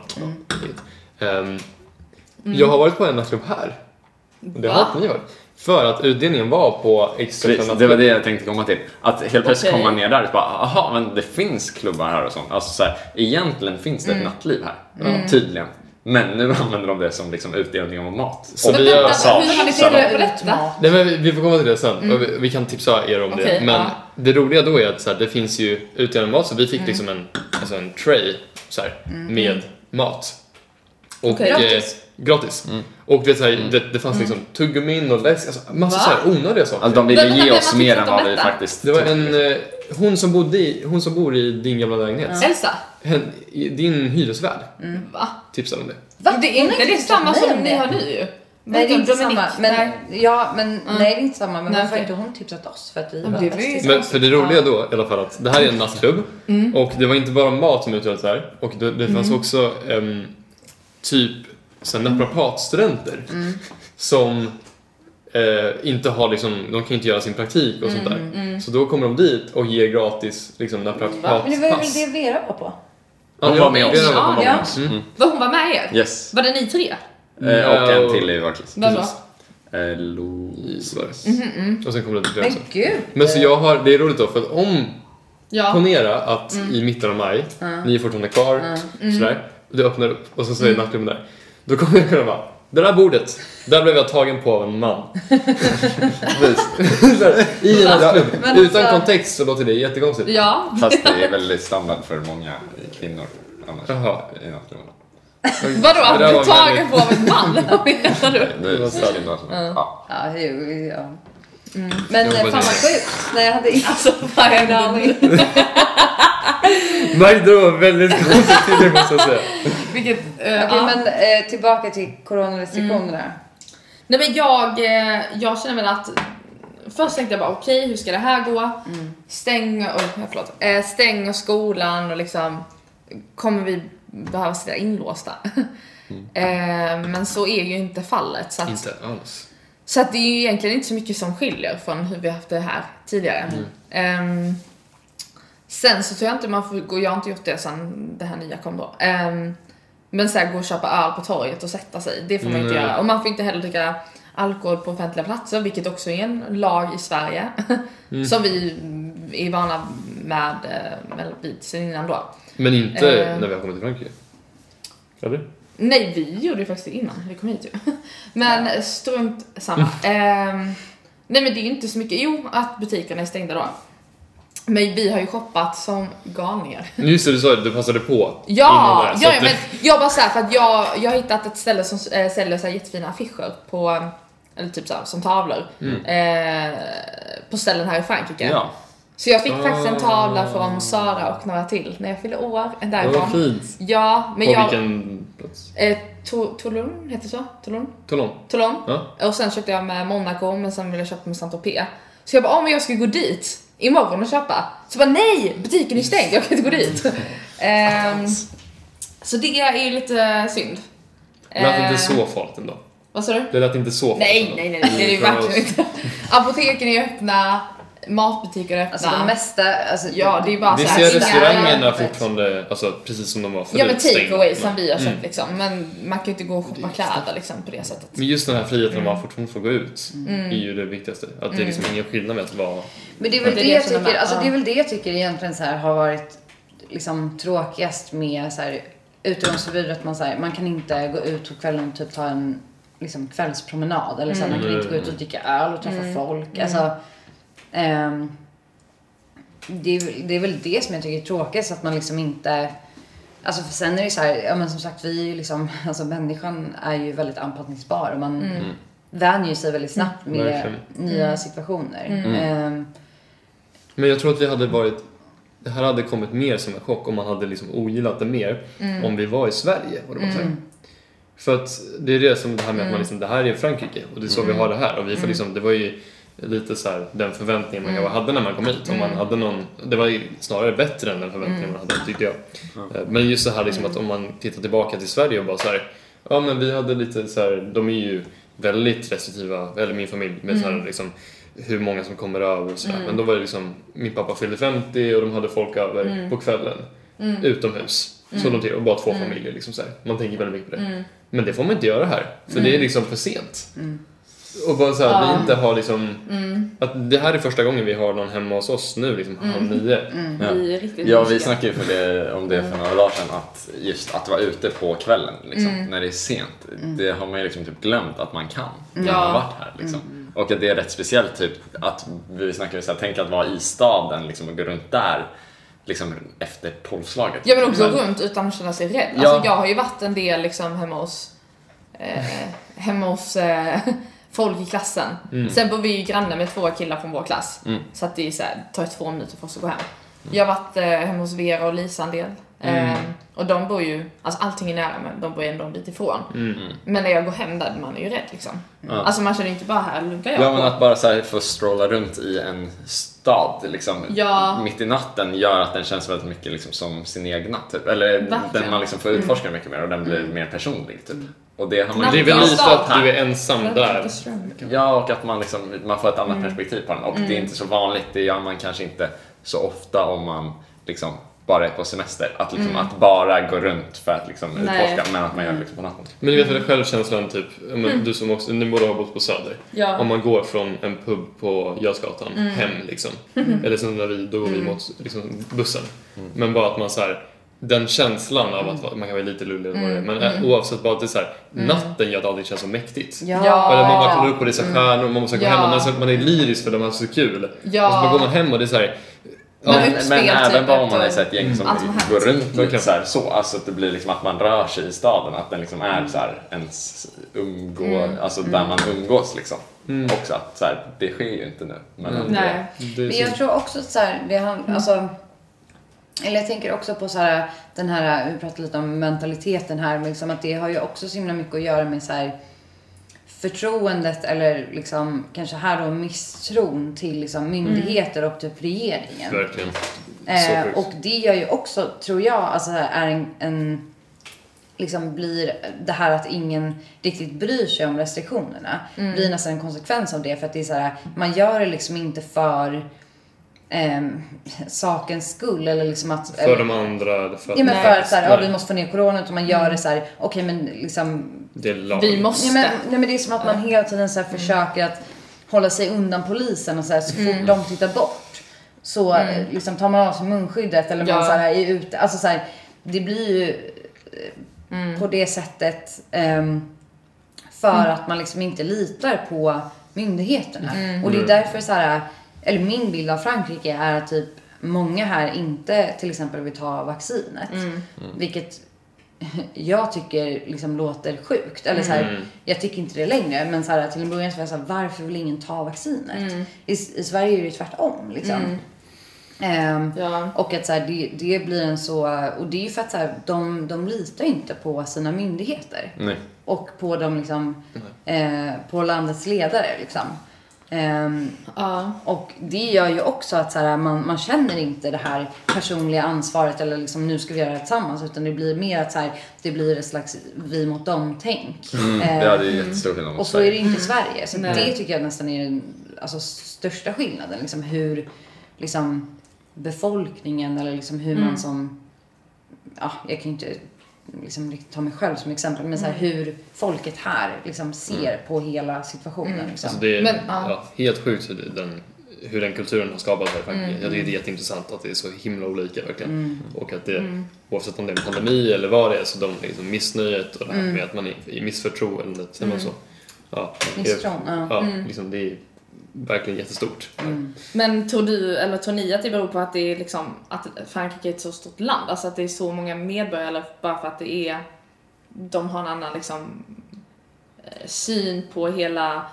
Ehm, Jag har varit på en nattklubb här. Det har inte ni varit. För att utdelningen var på extra Precis, det var det jag tänkte komma till. Att helt plötsligt Okej. komma ner där och bara, aha, men det finns klubbar här och sånt. Alltså så här, egentligen finns det ett nattliv här, tydligen. Men nu använder de det som liksom utdelning av mat. Så och vi gör- massage. hur har ni Så tänkt de- på detta? Nej, men vi- vi får komma till det sen. Och Vi, vi kan tipsa er om Mm. Okej, det. Men ja. Mm. det roliga då är att så här, det finns ju utdelad mat, så vi fick liksom en, alltså en tray så här, med mat. Och, Okej, gratis. Mm. Eh, gratis. Mm. Och det, så här, det, det fanns liksom tuggummin och läsk, alltså massa så här onödiga saker. Alltså de Men ville vänta, ge vem oss har mer än tipsat om vad vi detta? faktiskt Det var tog. en, eh, hon, som bodde i, hon som bor i din gamla lägenhet, Elsa? hen, i- din hyresvärd, Mm. Va? tipsade om det. Va? Det är inte det är samma som ni har nu. nu ju. Nej, det är inte samma. Men, nej. Mm. ja, men, Nej, det är inte samma. Men Nej, varför har okej. inte hon tipsat oss för att vi Ja, var det var ju- bästisar? Men för det roliga då i alla fall att det här är en nattklubb Mm. och det var inte bara mat som utdelades här och det, det fanns också em, typ så här naprapatstudenter Mm. som eh, inte har liksom, de kan inte göra sin praktik och sånt Mm, där. Så då kommer de dit och ger gratis liksom Men det var väl naprapatpass. det Vera var på? Ja, Hon jag- var med oss. Vera var- Hon var ja. med oss. Mm. Var hon var med er? Yes. Var det ni tre? Eh, Och Ja, en och- till i vår klass. Vem då? Eh, Louise. var det. Och sen kom det till det Mm, Men också. gud. Men så jag har, det är roligt då för att om Ja. Mm. Ponera att i mitten av maj, ni är fortfarande kvar, sådär. Och du öppnar upp och så säger Mm. nattklubben där. Då kommer jag kunna bara, det där bordet, där blev jag tagen på av en man. Såhär, I en nattklubb. Men Utan alltså- kontext så låter det jättekonstigt. Ja. Fast det är väldigt standard för många kvinnor annars. Jaha. I nattklubbarna. Vadå att Det där du var tagen väldigt- på av en man? Vad menar du? Nu är det kvinnor som... Ja. Ja, det är ju- ja. Men Jag eh, fan hoppas vad inte. sjukt. Nej, jag hade inte Alltså vad är en det? aning. Nej, det var väldigt konstigt det måste jag säga. Vilket... eh, Okej, ja. Mm. men eh, tillbaka till coronarestriktionerna. Nej men jag, eh, jag känner väl att Först tänkte jag bara okej hur ska det här gå? Stäng, oj, ja, förlåt. Eh, stäng och skolan och liksom kommer vi behöva sitta inlåsta? eh, men så är ju inte fallet. Så att, Inte alls. Så att det är ju egentligen inte så mycket som skiljer från hur vi haft det här tidigare. Ehm, sen så tror jag inte man får gå, jag har inte gjort det sen det här nya kom då. Ehm, men så här, gå och köpa öl på torget och sätta sig, det får man ju inte Nej. göra. Och man får inte heller dricka alkohol på offentliga platser, vilket också är en lag i Sverige. som vi är vana med, eh, eller vid sen innan då. Men inte Eh. när vi har kommit till Frankrike. Eller? Nej, vi gjorde det faktiskt innan vi kom hit ju. Men strunt samma. Ehm, nej men det är ju inte så mycket, jo att butikerna är stängda då. Men vi har ju shoppat som galningar. Just det, du sa det, du passade på. Ja, innan där, så ja, att ja du- men jag bara såhär för att jag, jag har hittat ett ställe som eh, säljer så här jättefina affischer på, eller typ såhär som tavlor. Mm. Eh, på ställen här i Frankrike. ja. Så jag fick faktiskt en tavla Ah. från Sara och några till när jag fyllde år. En Ja, vad därifrån. fint. Ja, men På jag... vilken plats? Eh, To- Toulon, heter det så? Toulon? Toulon? Toulon. Ja. Och sen köpte jag med Monaco men sen ville jag köpa med Saint-Tropez. Så jag bara, ah men jag ska gå dit imorgon och köpa. Så jag bara, nej! Butiken är stängd, jag kan inte gå dit. Ehm, så det är ju lite synd. Lät inte Ehm, så farligt ändå. Vad sa du? Det lät inte så farligt Nej, ändå. Mm. nej, nej, nej, det är det ju Kaos. verkligen inte. Apoteken är öppna, matbutiker är öppna. Alltså det mesta, alltså, Ja, det är bara Vi så här, ser inga- restaurangerna fortfarande, alltså precis som de var förut. Ja men take away stängda. som vi har köpt liksom. Men man kan ju inte gå och shoppa kläder liksom på det sättet. Men just den här friheten Mm. att man fortfarande får gå ut är ju det viktigaste. Att det är liksom ingen skillnad med att vara... Men det är väl Det det, är jag det som de tycker, är- alltså, ja. det är väl det jag tycker egentligen så här har varit liksom tråkigast med så här utegångsförbud att man så här, man kan inte gå ut på kvällen och typ ta en liksom, kvällspromenad eller så här, man kan inte gå Mm. ut och dricka öl och träffa folk. Alltså, ehm, det, är, väl- det är väl det som jag tycker är tråkigast att man liksom inte Alltså för sen är det ju så här, ja men som sagt vi är ju liksom, alltså människan är ju väldigt anpassningsbar och man Mm. vänjer ju sig väldigt snabbt med Verkligen. nya situationer. Mm. Ehm, Men jag tror att vi hade varit... Det här hade kommit mer som en chock om man hade liksom ogillat det mer om vi var i Sverige. Och det var så här. För att det är det som det här med att man liksom, det här är Frankrike och det är så vi har det här. Och vi får liksom, det var ju lite så här, den förväntningen man hade när man kom hit. Om man hade någon, det var ju snarare bättre än den förväntningen man hade tyckte jag. Eh, Men just det här liksom att om man tittar tillbaka till Sverige och bara så här, ja men vi hade lite så här, de är ju väldigt restriktiva, eller min familj, med så här liksom hur många som kommer över och sådär. Men då var det liksom, min pappa fyllde 50 och de hade folk över på kvällen Mm. utomhus. Så de till, och bara två Mm. familjer liksom så här. Man tänker väldigt mycket på det. Men det får man inte göra här, för det är liksom för sent. Och bara så här, vi inte har liksom... Att det här är första gången vi har någon hemma hos oss nu, liksom halv nio. Ja. Vi är riktigt Mm. ja, vi mysiga. snackade ju för det, om det Mm. för några dagar sedan, att just att vara ute på kvällen liksom, Mm. när det är sent, det har man ju liksom typ glömt att man kan när man Ja. Mm. har varit här. Liksom. Och att det är rätt speciellt, typ, att vi snackade ju så här, tänk att vara i staden liksom, och gå runt där liksom, efter tolvslaget. Jag vill också runt utan att känna sig rädd. Ja. Alltså, jag har ju varit en del liksom hemma hos, eh, hemma hos eh, folk i klassen. Sen bor vi ju grannar med två killar från vår klass. Så att det är så här, tar ju två minuter för oss att gå hem. Jag har varit eh, hemma hos Vera och Lisa en del. Eh, och de bor ju, alltså allting är nära men de bor ju ändå en bit ifrån. Men när jag går hem där, man är ju rädd liksom. Alltså man känner ju inte bara här lunkar jag Ja men på. att bara så här få strolla runt i en stad liksom, Ja. mitt i natten gör att den känns väldigt mycket liksom, som sin egna. Typ. Eller den Verkligen. Mm. man liksom får utforska mycket mer och den blir mer personlig. Typ. Och det har man Det är ju väl Natten i lite stad. att du är ensam där. Ja, och att man, liksom, man får ett annat perspektiv på den. Och det är inte så vanligt, det gör man kanske inte så ofta om man liksom bara är på semester. Att, liksom, att bara gå runt för att liksom, Nej. utforska, men att man gör det liksom, på natten. Men du vet väl självkänslan, typ, ja, men du som också, ni båda har bott på Söder. Ja. Om man går från en pub på Götgatan Mm. hem liksom. Eller som när vi, då går vi mot liksom, bussen. Men bara att man så här, den känslan av Mm. att man kan vara lite lullig eller vad det är. Men eh, oavsett bara att det är så här, natten gör att allting känns så mäktigt. Ja. Mm. Ja. Eller man bara kollar upp och det är så här stjärnor och man måste gå Ja. hem och man är, så, man är lyrisk för att man har så kul. Ja. Och så bara går man hem och det är så här, Man men, utspel, men typ, även bara om man är efter- så ett gäng som Allt som går hänt. runt Verkligen. och så, här, så alltså att det blir liksom att man rör sig i staden, att den liksom är så här ens umgå, alltså där man umgås liksom. Också att så här, det sker ju inte nu. Men att det- Mm. Nej. det är Men så, jag tror också att så här, det han, alltså, eller jag tänker också på så här, den här, vi pratade lite om mentaliteten här, men liksom att det har ju också så himla mycket att göra med så här, förtroendet eller liksom kanske här då misstron till liksom myndigheter och typ regeringen. verkligen. Så Eh, sjukt. och det gör ju också, tror jag, alltså är en, en liksom blir det här att ingen riktigt bryr sig om restriktionerna blir nästan en konsekvens av det för att det är så här, man gör det liksom inte för ehm, sakens skull eller liksom att För de andra, eller för att Ja men det för är- att så här, ja, vi nej, måste få ner corona utan man gör det så här, okej men liksom Det är lag. Vi måste. Mm. Ja, men, nej, men det är som att man hela tiden så här försöker att hålla sig undan polisen och så, här, så fort Mm. de tittar bort så eh, liksom, tar man av sig munskyddet eller Ja. man så här, är ute. Alltså, så här, det blir ju eh, Mm. på det sättet ehm, för att man liksom inte litar på myndigheterna. Mm. Och det är därför så här, eller min bild av Frankrike är att typ många här inte till exempel vill ta vaccinet. Mm. Vilket jag tycker liksom låter sjukt. Eller så här, Jag tycker inte det längre. Men så här, till en början så var jag så här, varför vill ingen ta vaccinet? I, I Sverige är det ju tvärtom. Liksom. Ehm, Ja. Och att så här, det, det blir en så... Och det är ju för att så här, de, de litar ju inte på sina myndigheter. Nej. Och på, de, liksom, eh, på landets ledare. Liksom. Ehm, Ja. och det gör ju också att så här, man, man känner inte det här personliga ansvaret eller liksom nu ska vi göra det tillsammans utan det blir mer att så här, det blir ett slags vi mot dem-tänk. Mm, Eh, Ja, det är jättestor skillnad och mot så är det Sverige. inte i Sverige. Så Nej. det tycker jag nästan är den alltså, största skillnaden. Liksom hur liksom, befolkningen eller liksom hur man som... Ja, jag kan ju inte liksom, riktigt ta mig själv som exempel men så här, hur folket här liksom, ser på hela situationen. Liksom. Mm. Alltså det är Men, ja. ja. helt sjukt hur den, hur den kulturen har skapats här i Frankrike. Mm. Jag tycker det är jätteintressant att det är så himla olika verkligen. Och att det, Mm. oavsett om det är en pandemi eller vad det är, så de liksom missnöjet och det här Mm. med att man är i missförtroendet, säger man så? Ja, det är- Misstron, ja. Mm. ja Mm. liksom det är verkligen jättestort. Men tror du, eller tror ni att det beror på att det är liksom, att Frankrike är ett så stort land? Alltså att det är så många medborgare eller bara för att det är, de har en annan liksom eh, syn på hela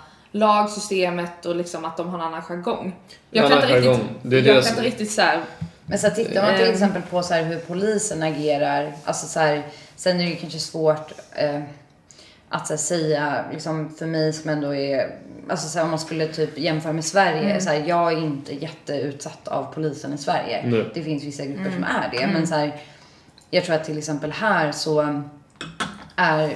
lagsystemet och liksom att de har en annan jargong. Jag kan Annan inte riktigt, jargong. Det är jag deras- kan inte riktigt såhär, Men så här, tittar man till Ehm. exempel på så här hur polisen agerar, alltså så här, sen är det ju kanske svårt eh, att så här, säga, liksom för mig som ändå är, alltså så här, om man skulle typ jämföra med Sverige, så här, jag är inte jätteutsatt av polisen i Sverige. Nej. Det finns vissa grupper som är det, men så här, jag tror att till exempel här så är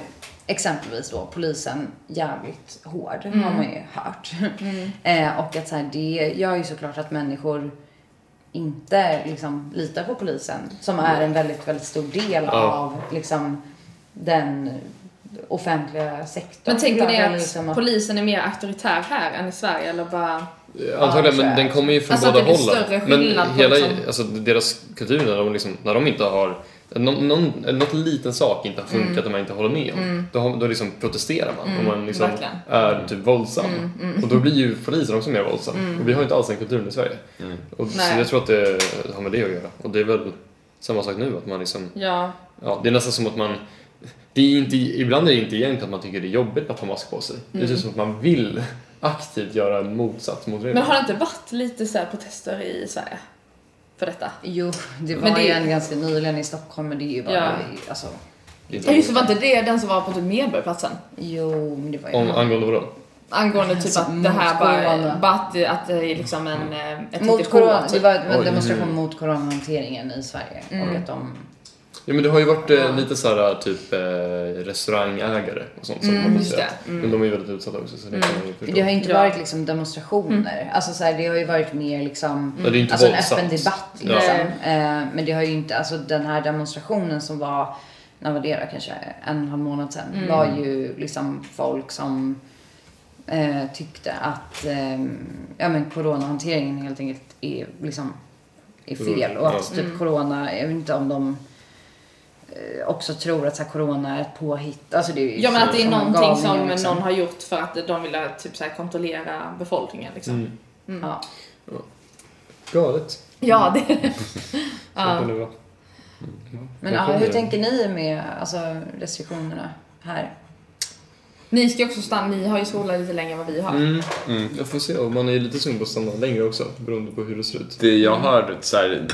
exempelvis då polisen jävligt hård, Mm. har man ju hört. eh, och att så här, det gör ju såklart att människor inte liksom litar på polisen som är en väldigt, väldigt stor del Ja. av liksom den offentliga sektorn. Men tänker ni Eller att liksom polisen är mer auktoritär här än i Sverige eller bara... Antagligen, tror men jag. den kommer ju från Alltså, båda att det blir hållen. större Men skillnad på hela, liksom- alltså, deras kultur när de, liksom, när de inte har någon, någon, eller något liten sak inte har Mm. funkat och man inte håller med om. Då, har- då liksom protesterar man och man liksom verkligen. Mm, är typ våldsam. Och då blir ju polisen också mer våldsam. Och vi har ju inte alls den kulturen i Sverige. Och, så Nej. jag tror att det har med det att göra. Och det är väl samma sak nu att man liksom Ja. Ja, det är nästan som att man... Det är inte, ibland är det inte egentligen att man tycker det är jobbigt att ha mask på sig. Mm. Det är typ som att man vill aktivt göra en motsats mot Men reglerna. har det inte varit lite så här protester i Sverige? För detta? Jo, det var Men det- ju en ganska nyligen i Stockholm men det är ju bara... Ja. Alltså, Det är inte Ja just det, var inte det den som var på typ Medborgarplatsen? jo, men det var ju... Om, angående vadå? Angående typ Alltså, att det här bara, motstående. bara att, det- att det är liksom en... eh, Ett Mot hittepå, corona, det typ. var en Oj. demonstration mot coronahanteringen i Sverige. Mm. Och att de... Ja, men det har ju varit eh, lite så här typ eh, restaurangägare och sånt som har just protesterat. Men de är ju väldigt utsatta också så det kan man ju förstå. Det har ju inte Ja. varit liksom demonstrationer. Mm. Alltså så här, det har ju varit mer liksom... Ja, det är inte alltså en våldsamt. öppen debatt Ja. liksom. Eh, men det har ju inte... Alltså den här demonstrationen som var... När var det då? Kanske en och en halv månad sedan. Mm. Var ju liksom folk som eh, tyckte att eh, ja, men coronahanteringen helt enkelt är liksom är fel och att Ja. typ Mm. corona, jag vet inte om de eh, också tror att så här, corona är ett påhitt. Alltså det är ju Ja men att det är sådana någonting som galningar, liksom. någon har gjort för att de vill typ så här kontrollera befolkningen liksom. Mm. Ja. Galet. Ja, det... Så kan det vara. Men Då ja, kommer hur det. tänker ni med alltså, restriktionerna här? Ni ska ju också stanna, ni har ju skolan lite längre än vad vi har. Mm. Jag får se, och man är ju lite sugen på att stanna längre också beroende på hur det ser ut. Det jag har, så här,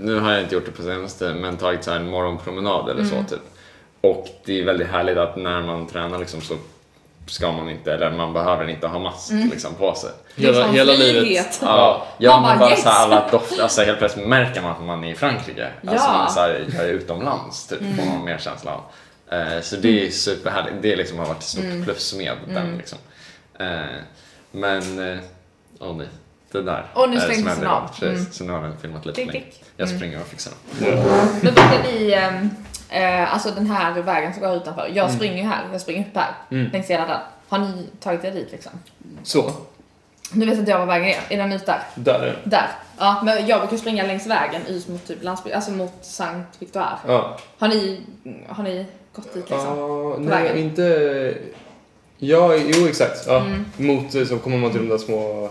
nu har jag inte gjort det på senaste, men tagit så här, en morgonpromenad eller så typ. Och det är väldigt härligt att när man tränar liksom, så ska man inte, eller man behöver inte ha mask liksom, på sig. Det är Hela, sån hela frihet. livet. Ja, ja Typ. Man men bara, bara yes! så här, alla dofter, alltså helt plötsligt märker man att man är i Frankrike. Alltså Ja. Mm. man så här, jag är utomlands typ, får man mer känsla av. Eh, så det är superhärligt, det liksom har varit ett stort Mm. plus med den liksom. Eh, men, eh, åh nej, det där. Och nu är det som slängdes den händer av. idag, precis. Så nu har den filmat lite Klick, längre. klick. Mm. Jag springer och fixar den. Men vad är ni, ehm, eh, alltså den här vägen som går utanför. Mm. Jag springer ju här, jag springer upp här. Längs hela den. Har ni tagit er dit liksom? Så, Nu vet inte jag vad vägen är, är den ut där? där är den. Där. Ja, men jag brukar springa längs vägen ut mot typ landsbygden, alltså mot Sankt Victoire. Ja. Har ni, har ni gått dit liksom? Ja, vägen. nej, inte... Ja, jo exakt. Ja. Mm. Mot eh, så kommer man till de där små,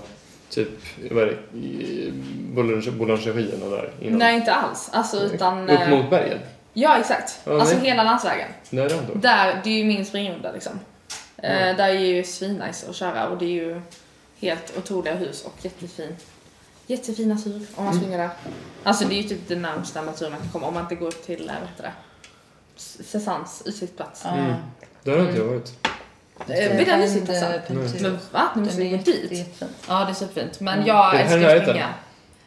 typ, vad är det, i- Boulange- boulangerierna där innan. Nej, inte alls. Alltså utan... Upp eh, mot bergen? Ja, exakt. Ja, alltså nej. hela landsvägen. Där är han då. Där, det är ju min springrunda liksom. Eh, där är ju svinnice att köra och det är ju helt otroliga hus och jättefin, jättefin natur om Mm. man springer där. Alltså det är ju typ det närmsta naturen man kan komma om man inte går upp till, eh, vad heter det, Cezannes utsiktsplats. Mm. Där har inte jag varit. Eh, Vid den utsiktsplats. Men va? Nu måste vi gå dit? Ja, det är superfint. Men Mm. jag Det är här älskar jag att äter. springa.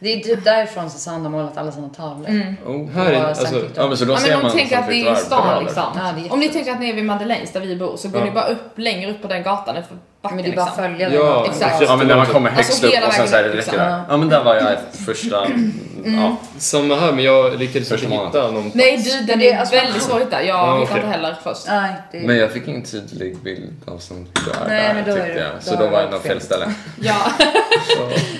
Det är typ därifrån Susanne har målat alla sina tavlor. Mm. Här är Sankt alltså, Victor. Ja men så då Ja, ser men man de tänker som att det är Victoire i bra, stan liksom. Ja, det är jättefint. Om ni tänker att ni är vid Madeleines där vi bor så går Ja. ni bara upp längre upp på den gatan, för backen Men det är bara att liksom. följa ja, den. Exakt. Ja men när man kommer Alltså, högst upp hela och sen så är vägen det upp, räcker liksom. Mm. där. Ja men där var jag första, ja. Samma här, men jag lyckades Första inte månaden. hitta någon. Nej du, den det är är alltså- väldigt svår att hitta. Jag Ja, hittade okej. inte heller först. Nej, det Men jag fick ingen tydlig bild av som där, Nej, där men då är tyckte det- jag. då Så har Eh, då var det jag nog varit fel fel. ställe. Ja,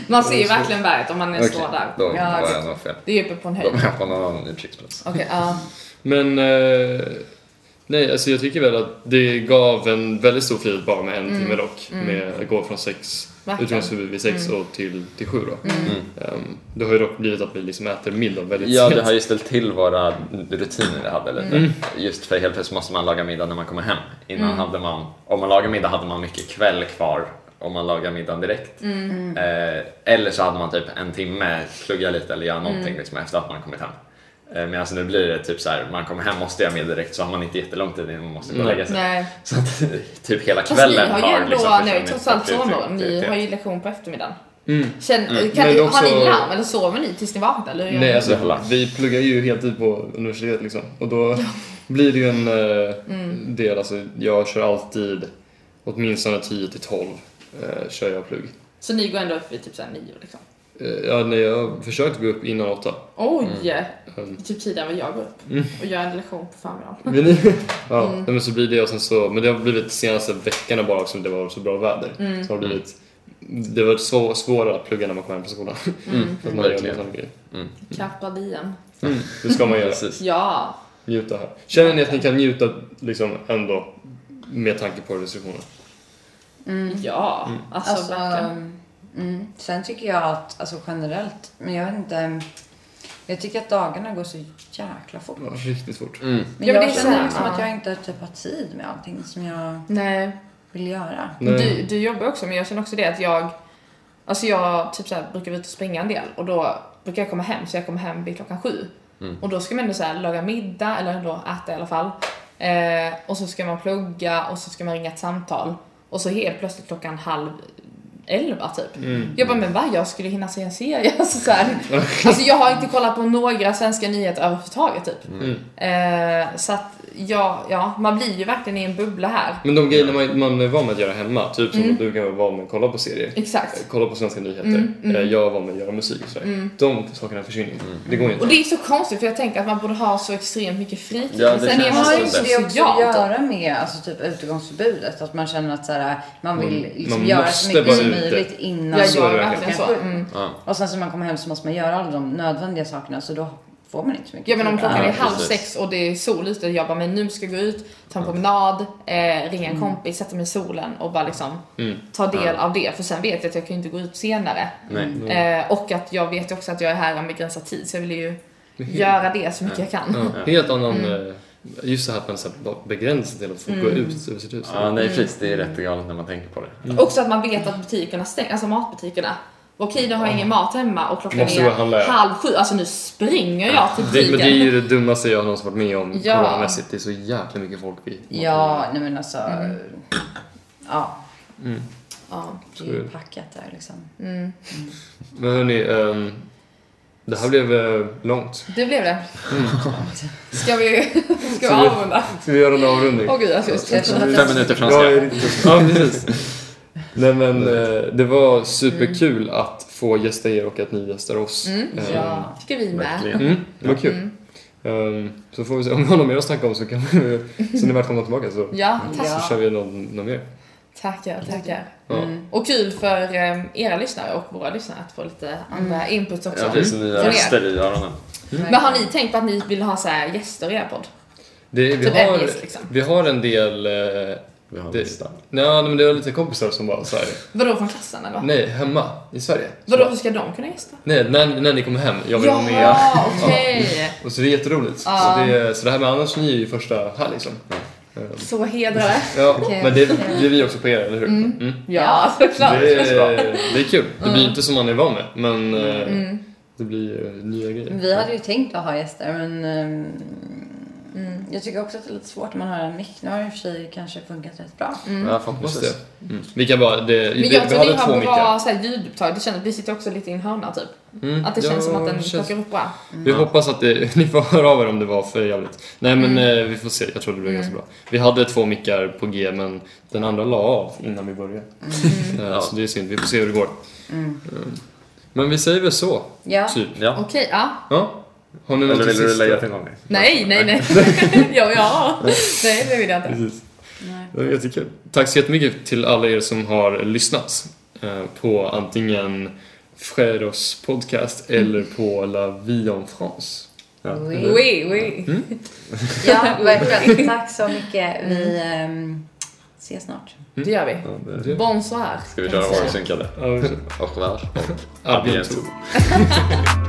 man ser ju verkligen berget om man Okej, står där. då Ja, var det- jag nog fel. Det är ju uppe på en Då höjd. var jag på någon annan utkiksplats. Okej, ja. Men... Eh, nej, alltså jag tycker väl att det gav en väldigt stor frihet bara med en timme dock. Med att gå från sex, Verkligen. utrymningsförbud vid sex och till, till sju då. Ehm, det har ju dock blivit att vi liksom äter middag väldigt Mm. Ja, sent. det har ju ställt till våra rutiner vi hade lite. Just för helt plötsligt måste man laga middag när man kommer hem. Innan hade man, om man lagar middag hade man mycket kväll kvar om man lagar middagen direkt. Eh, eller så hade man typ en timme, plugga lite eller göra någonting liksom, efter att man kommit hem. Eh, Medan nu blir det typ så här, man kommer hem måste jag med direkt så har man inte jättelång tid innan man måste gå och lägga sig. Nej. Så att typ hela Fast ni kvällen har ju ändå, liksom ni har försvunnit ju typ trots allt från sovmorgon. Ni produktivitet. har ju lektion på eftermiddagen. Mm. Känn, Kan Men ni, det är också- Har ni larm eller sover ni tills ni vaknar? Eller hur gör Nej, ni? alltså Jävlar. vi pluggar ju heltid på universitetet liksom. Och då blir det ju en eh, del, alltså jag kör alltid åtminstone 10 till 12 eh, kör jag plugg. Så ni går ändå upp vid typ såhär nio liksom? eh, ja, nej, jag försökte gå upp innan åtta. Oj! Mm. Typ tiden var jag går upp och gör en lektion på förmiddagen. Men, ja, nej, men så blir det och sen så, men det har blivit senaste veckorna bara också, det var så bra väder. Så har det blivit, det var så svårare att plugga när man kom hem från skolan. För att man gör en Verkligen. sån grej. Klappad igen. Det ska man göra. Precis. Mm. Ja, Njuta här. Känner ni att ni kan njuta liksom ändå med tanke på restriktioner? ja. Alltså, Alltså, verkligen. mm. Sen tycker jag att, alltså generellt, men jag vet inte. Jag tycker att dagarna går så jäkla fort. Ja, riktigt fort. Men Ja, men jag det är känner så- liksom ja. att jag inte typ har tid med allting som jag Nej, vill göra. Nej. Du, du jobbar också men jag känner också det att jag Alltså jag typ så här, brukar vara ute och springa en del och då brukar jag komma hem så jag kommer hem vid klockan sju. Och då ska man ändå så här, laga middag eller ändå äta i alla fall. Eh, och så ska man plugga och så ska man ringa ett samtal. Och så helt plötsligt klockan halv elva typ. Jag bara men va? Jag skulle hinna se en serie. Alltså, så här. alltså jag har inte kollat på några svenska nyheter överhuvudtaget typ. Mm. Eh, så att ja, ja, man blir ju verkligen i en bubbla här. Men de grejerna man, man är van med att göra hemma, typ som du kan vara van med att kolla på serier. Exakt. kolla på svenska nyheter, Eh, jag var med att göra musik och sådär. De sakerna försvinner inte. Det går ju Och inte. det är så konstigt för jag tänker att man borde ha så extremt mycket fritid. Ja, det Men Sen är känns man har som så ju det. det också social. att göra med alltså, typ, utegångsförbudet. Att man känner att så här, man vill Mm. liksom Man göra måste så mycket som vara ute. möjligt innan. Jag Så är gör det verkligen så. Mm. Ja. Och sen så när man kommer hem så måste man göra alla de nödvändiga sakerna så då får man inte så mycket Ja men om tid. klockan är Ja, halv precis. sex och det är sol ute, jag bara men nu ska jag gå ut, ta en promenad, eh, ringa en kompis, sätta mig i solen och bara liksom ta del av det. För sen vet jag att jag kan ju inte gå ut senare. Nej. Eh, och att jag vet ju också att jag är här om begränsad tid så jag vill ju göra det så mycket jag kan. Ja. Helt annan, Mm. eh, just det här att man är så här bara begränsad till att få gå ut över sitt hus. Mm. Ja, Mm. nej precis. Det är rätt galet när man tänker på det. Också att man vet att butikerna stängs, alltså matbutikerna. Okej, nu har jag ingen mat hemma och klockan Måste gå och handla, är ja. halv sju. Alltså nu springer jag till Det, men butiken. det är ju det dummaste jag någonsin varit med om Ja. coronamässigt. Det är så jäkla mycket folk i Ja, nej men alltså. Mm. Ja, Mm. Ja. Mm. det är ju packat där liksom. Men hörni, ehm, det här blev eh, långt. Det blev det. Ska vi, ska vi avrunda? Ska vi göra en avrundning? Åh gud, alltså jag Jag ska tror att Fem det- minuter franska. Jag är riktigt... Mm. Ja, precis. Nej men eh, det var superkul att få gästa er och att ni gästar oss. Ehm, Mm. Ja, tycker vi med. Verkligen. Mm, det var kul. Ehm, så får vi se om vi har något mer att snacka om så kan vi, så ni är välkomna tillbaka så, Ja, Mm. tack. så kör vi någon, någon mer. tackar, tackar. Ja. Och kul för eh, era lyssnare och våra lyssnare att få lite andra Mm. input också. Ja, precis. Nya Från er. röster i öronen. Men har ni tänkt på att ni vill ha så här gäster i er podd? Det, vi, Typ har, eljest, liksom. vi har en del... Eh, Vi har en det, lista. nej, men det var lite kompisar som bara såhär, Vadå från klassen eller? vad? nej hemma i Sverige. Så Vadå, bara, hur ska de kunna gästa? Nej, när, när ni kommer hem, jag vill vara med. Jaha, okej. Och så det är jätteroligt. Så, det, så det här med annars ni är ju första här liksom. Så hedrade. Ja, Okej. men det, det är vi också på er, eller hur? Mm. Ja, såklart. Det, är, det är kul. Det Mm. blir inte som man är van med, men eh, det blir eh, nya grejer. Vi hade ju tänkt att ha gäster men ehm, jag tycker också att det är lite svårt när man har en mick. Nu har det i och för sig kanske funkat rätt bra. Mm. Ja, Hoppas förhoppningsvis. det. Mm. Vi kan bara, det, Men det, jag vi tror vi hade två har mickar. bra så här, ljudupptag. Det känns, vi sitter också lite i en hörna typ. Mm. Att det Ja, känns som att den det känns- plockar upp bra. Vi hoppas att det, ni får höra av er om det var för jävligt. Nej men eh, vi får se, jag tror det blir ganska bra. Vi hade två mickar på G men den andra la av innan vi började. Eh, Ja. Så det är synd, vi får se hur det går. Mm. Men vi säger väl så, Ja. typ. Ja. Okej, ja. Ja. Har ni Eller något vill du sista? lägga till någonting? Nej, nej, nej. ja, ja. Nej, det vill jag inte. Precis. Det var jättekul. Tack så jättemycket till alla er som har lyssnat eh, på antingen Fredos podcast eller på La Vie en France. Mm. Oui. Oui, oui. Ja, verkligen. Tack så mycket. Vi ehm, ses snart. Det gör vi. Ja, det- Det- Bonsoir. Ska vi köra hårsynkade? Ja, Och väl. Och Ja, abiento. bientôt.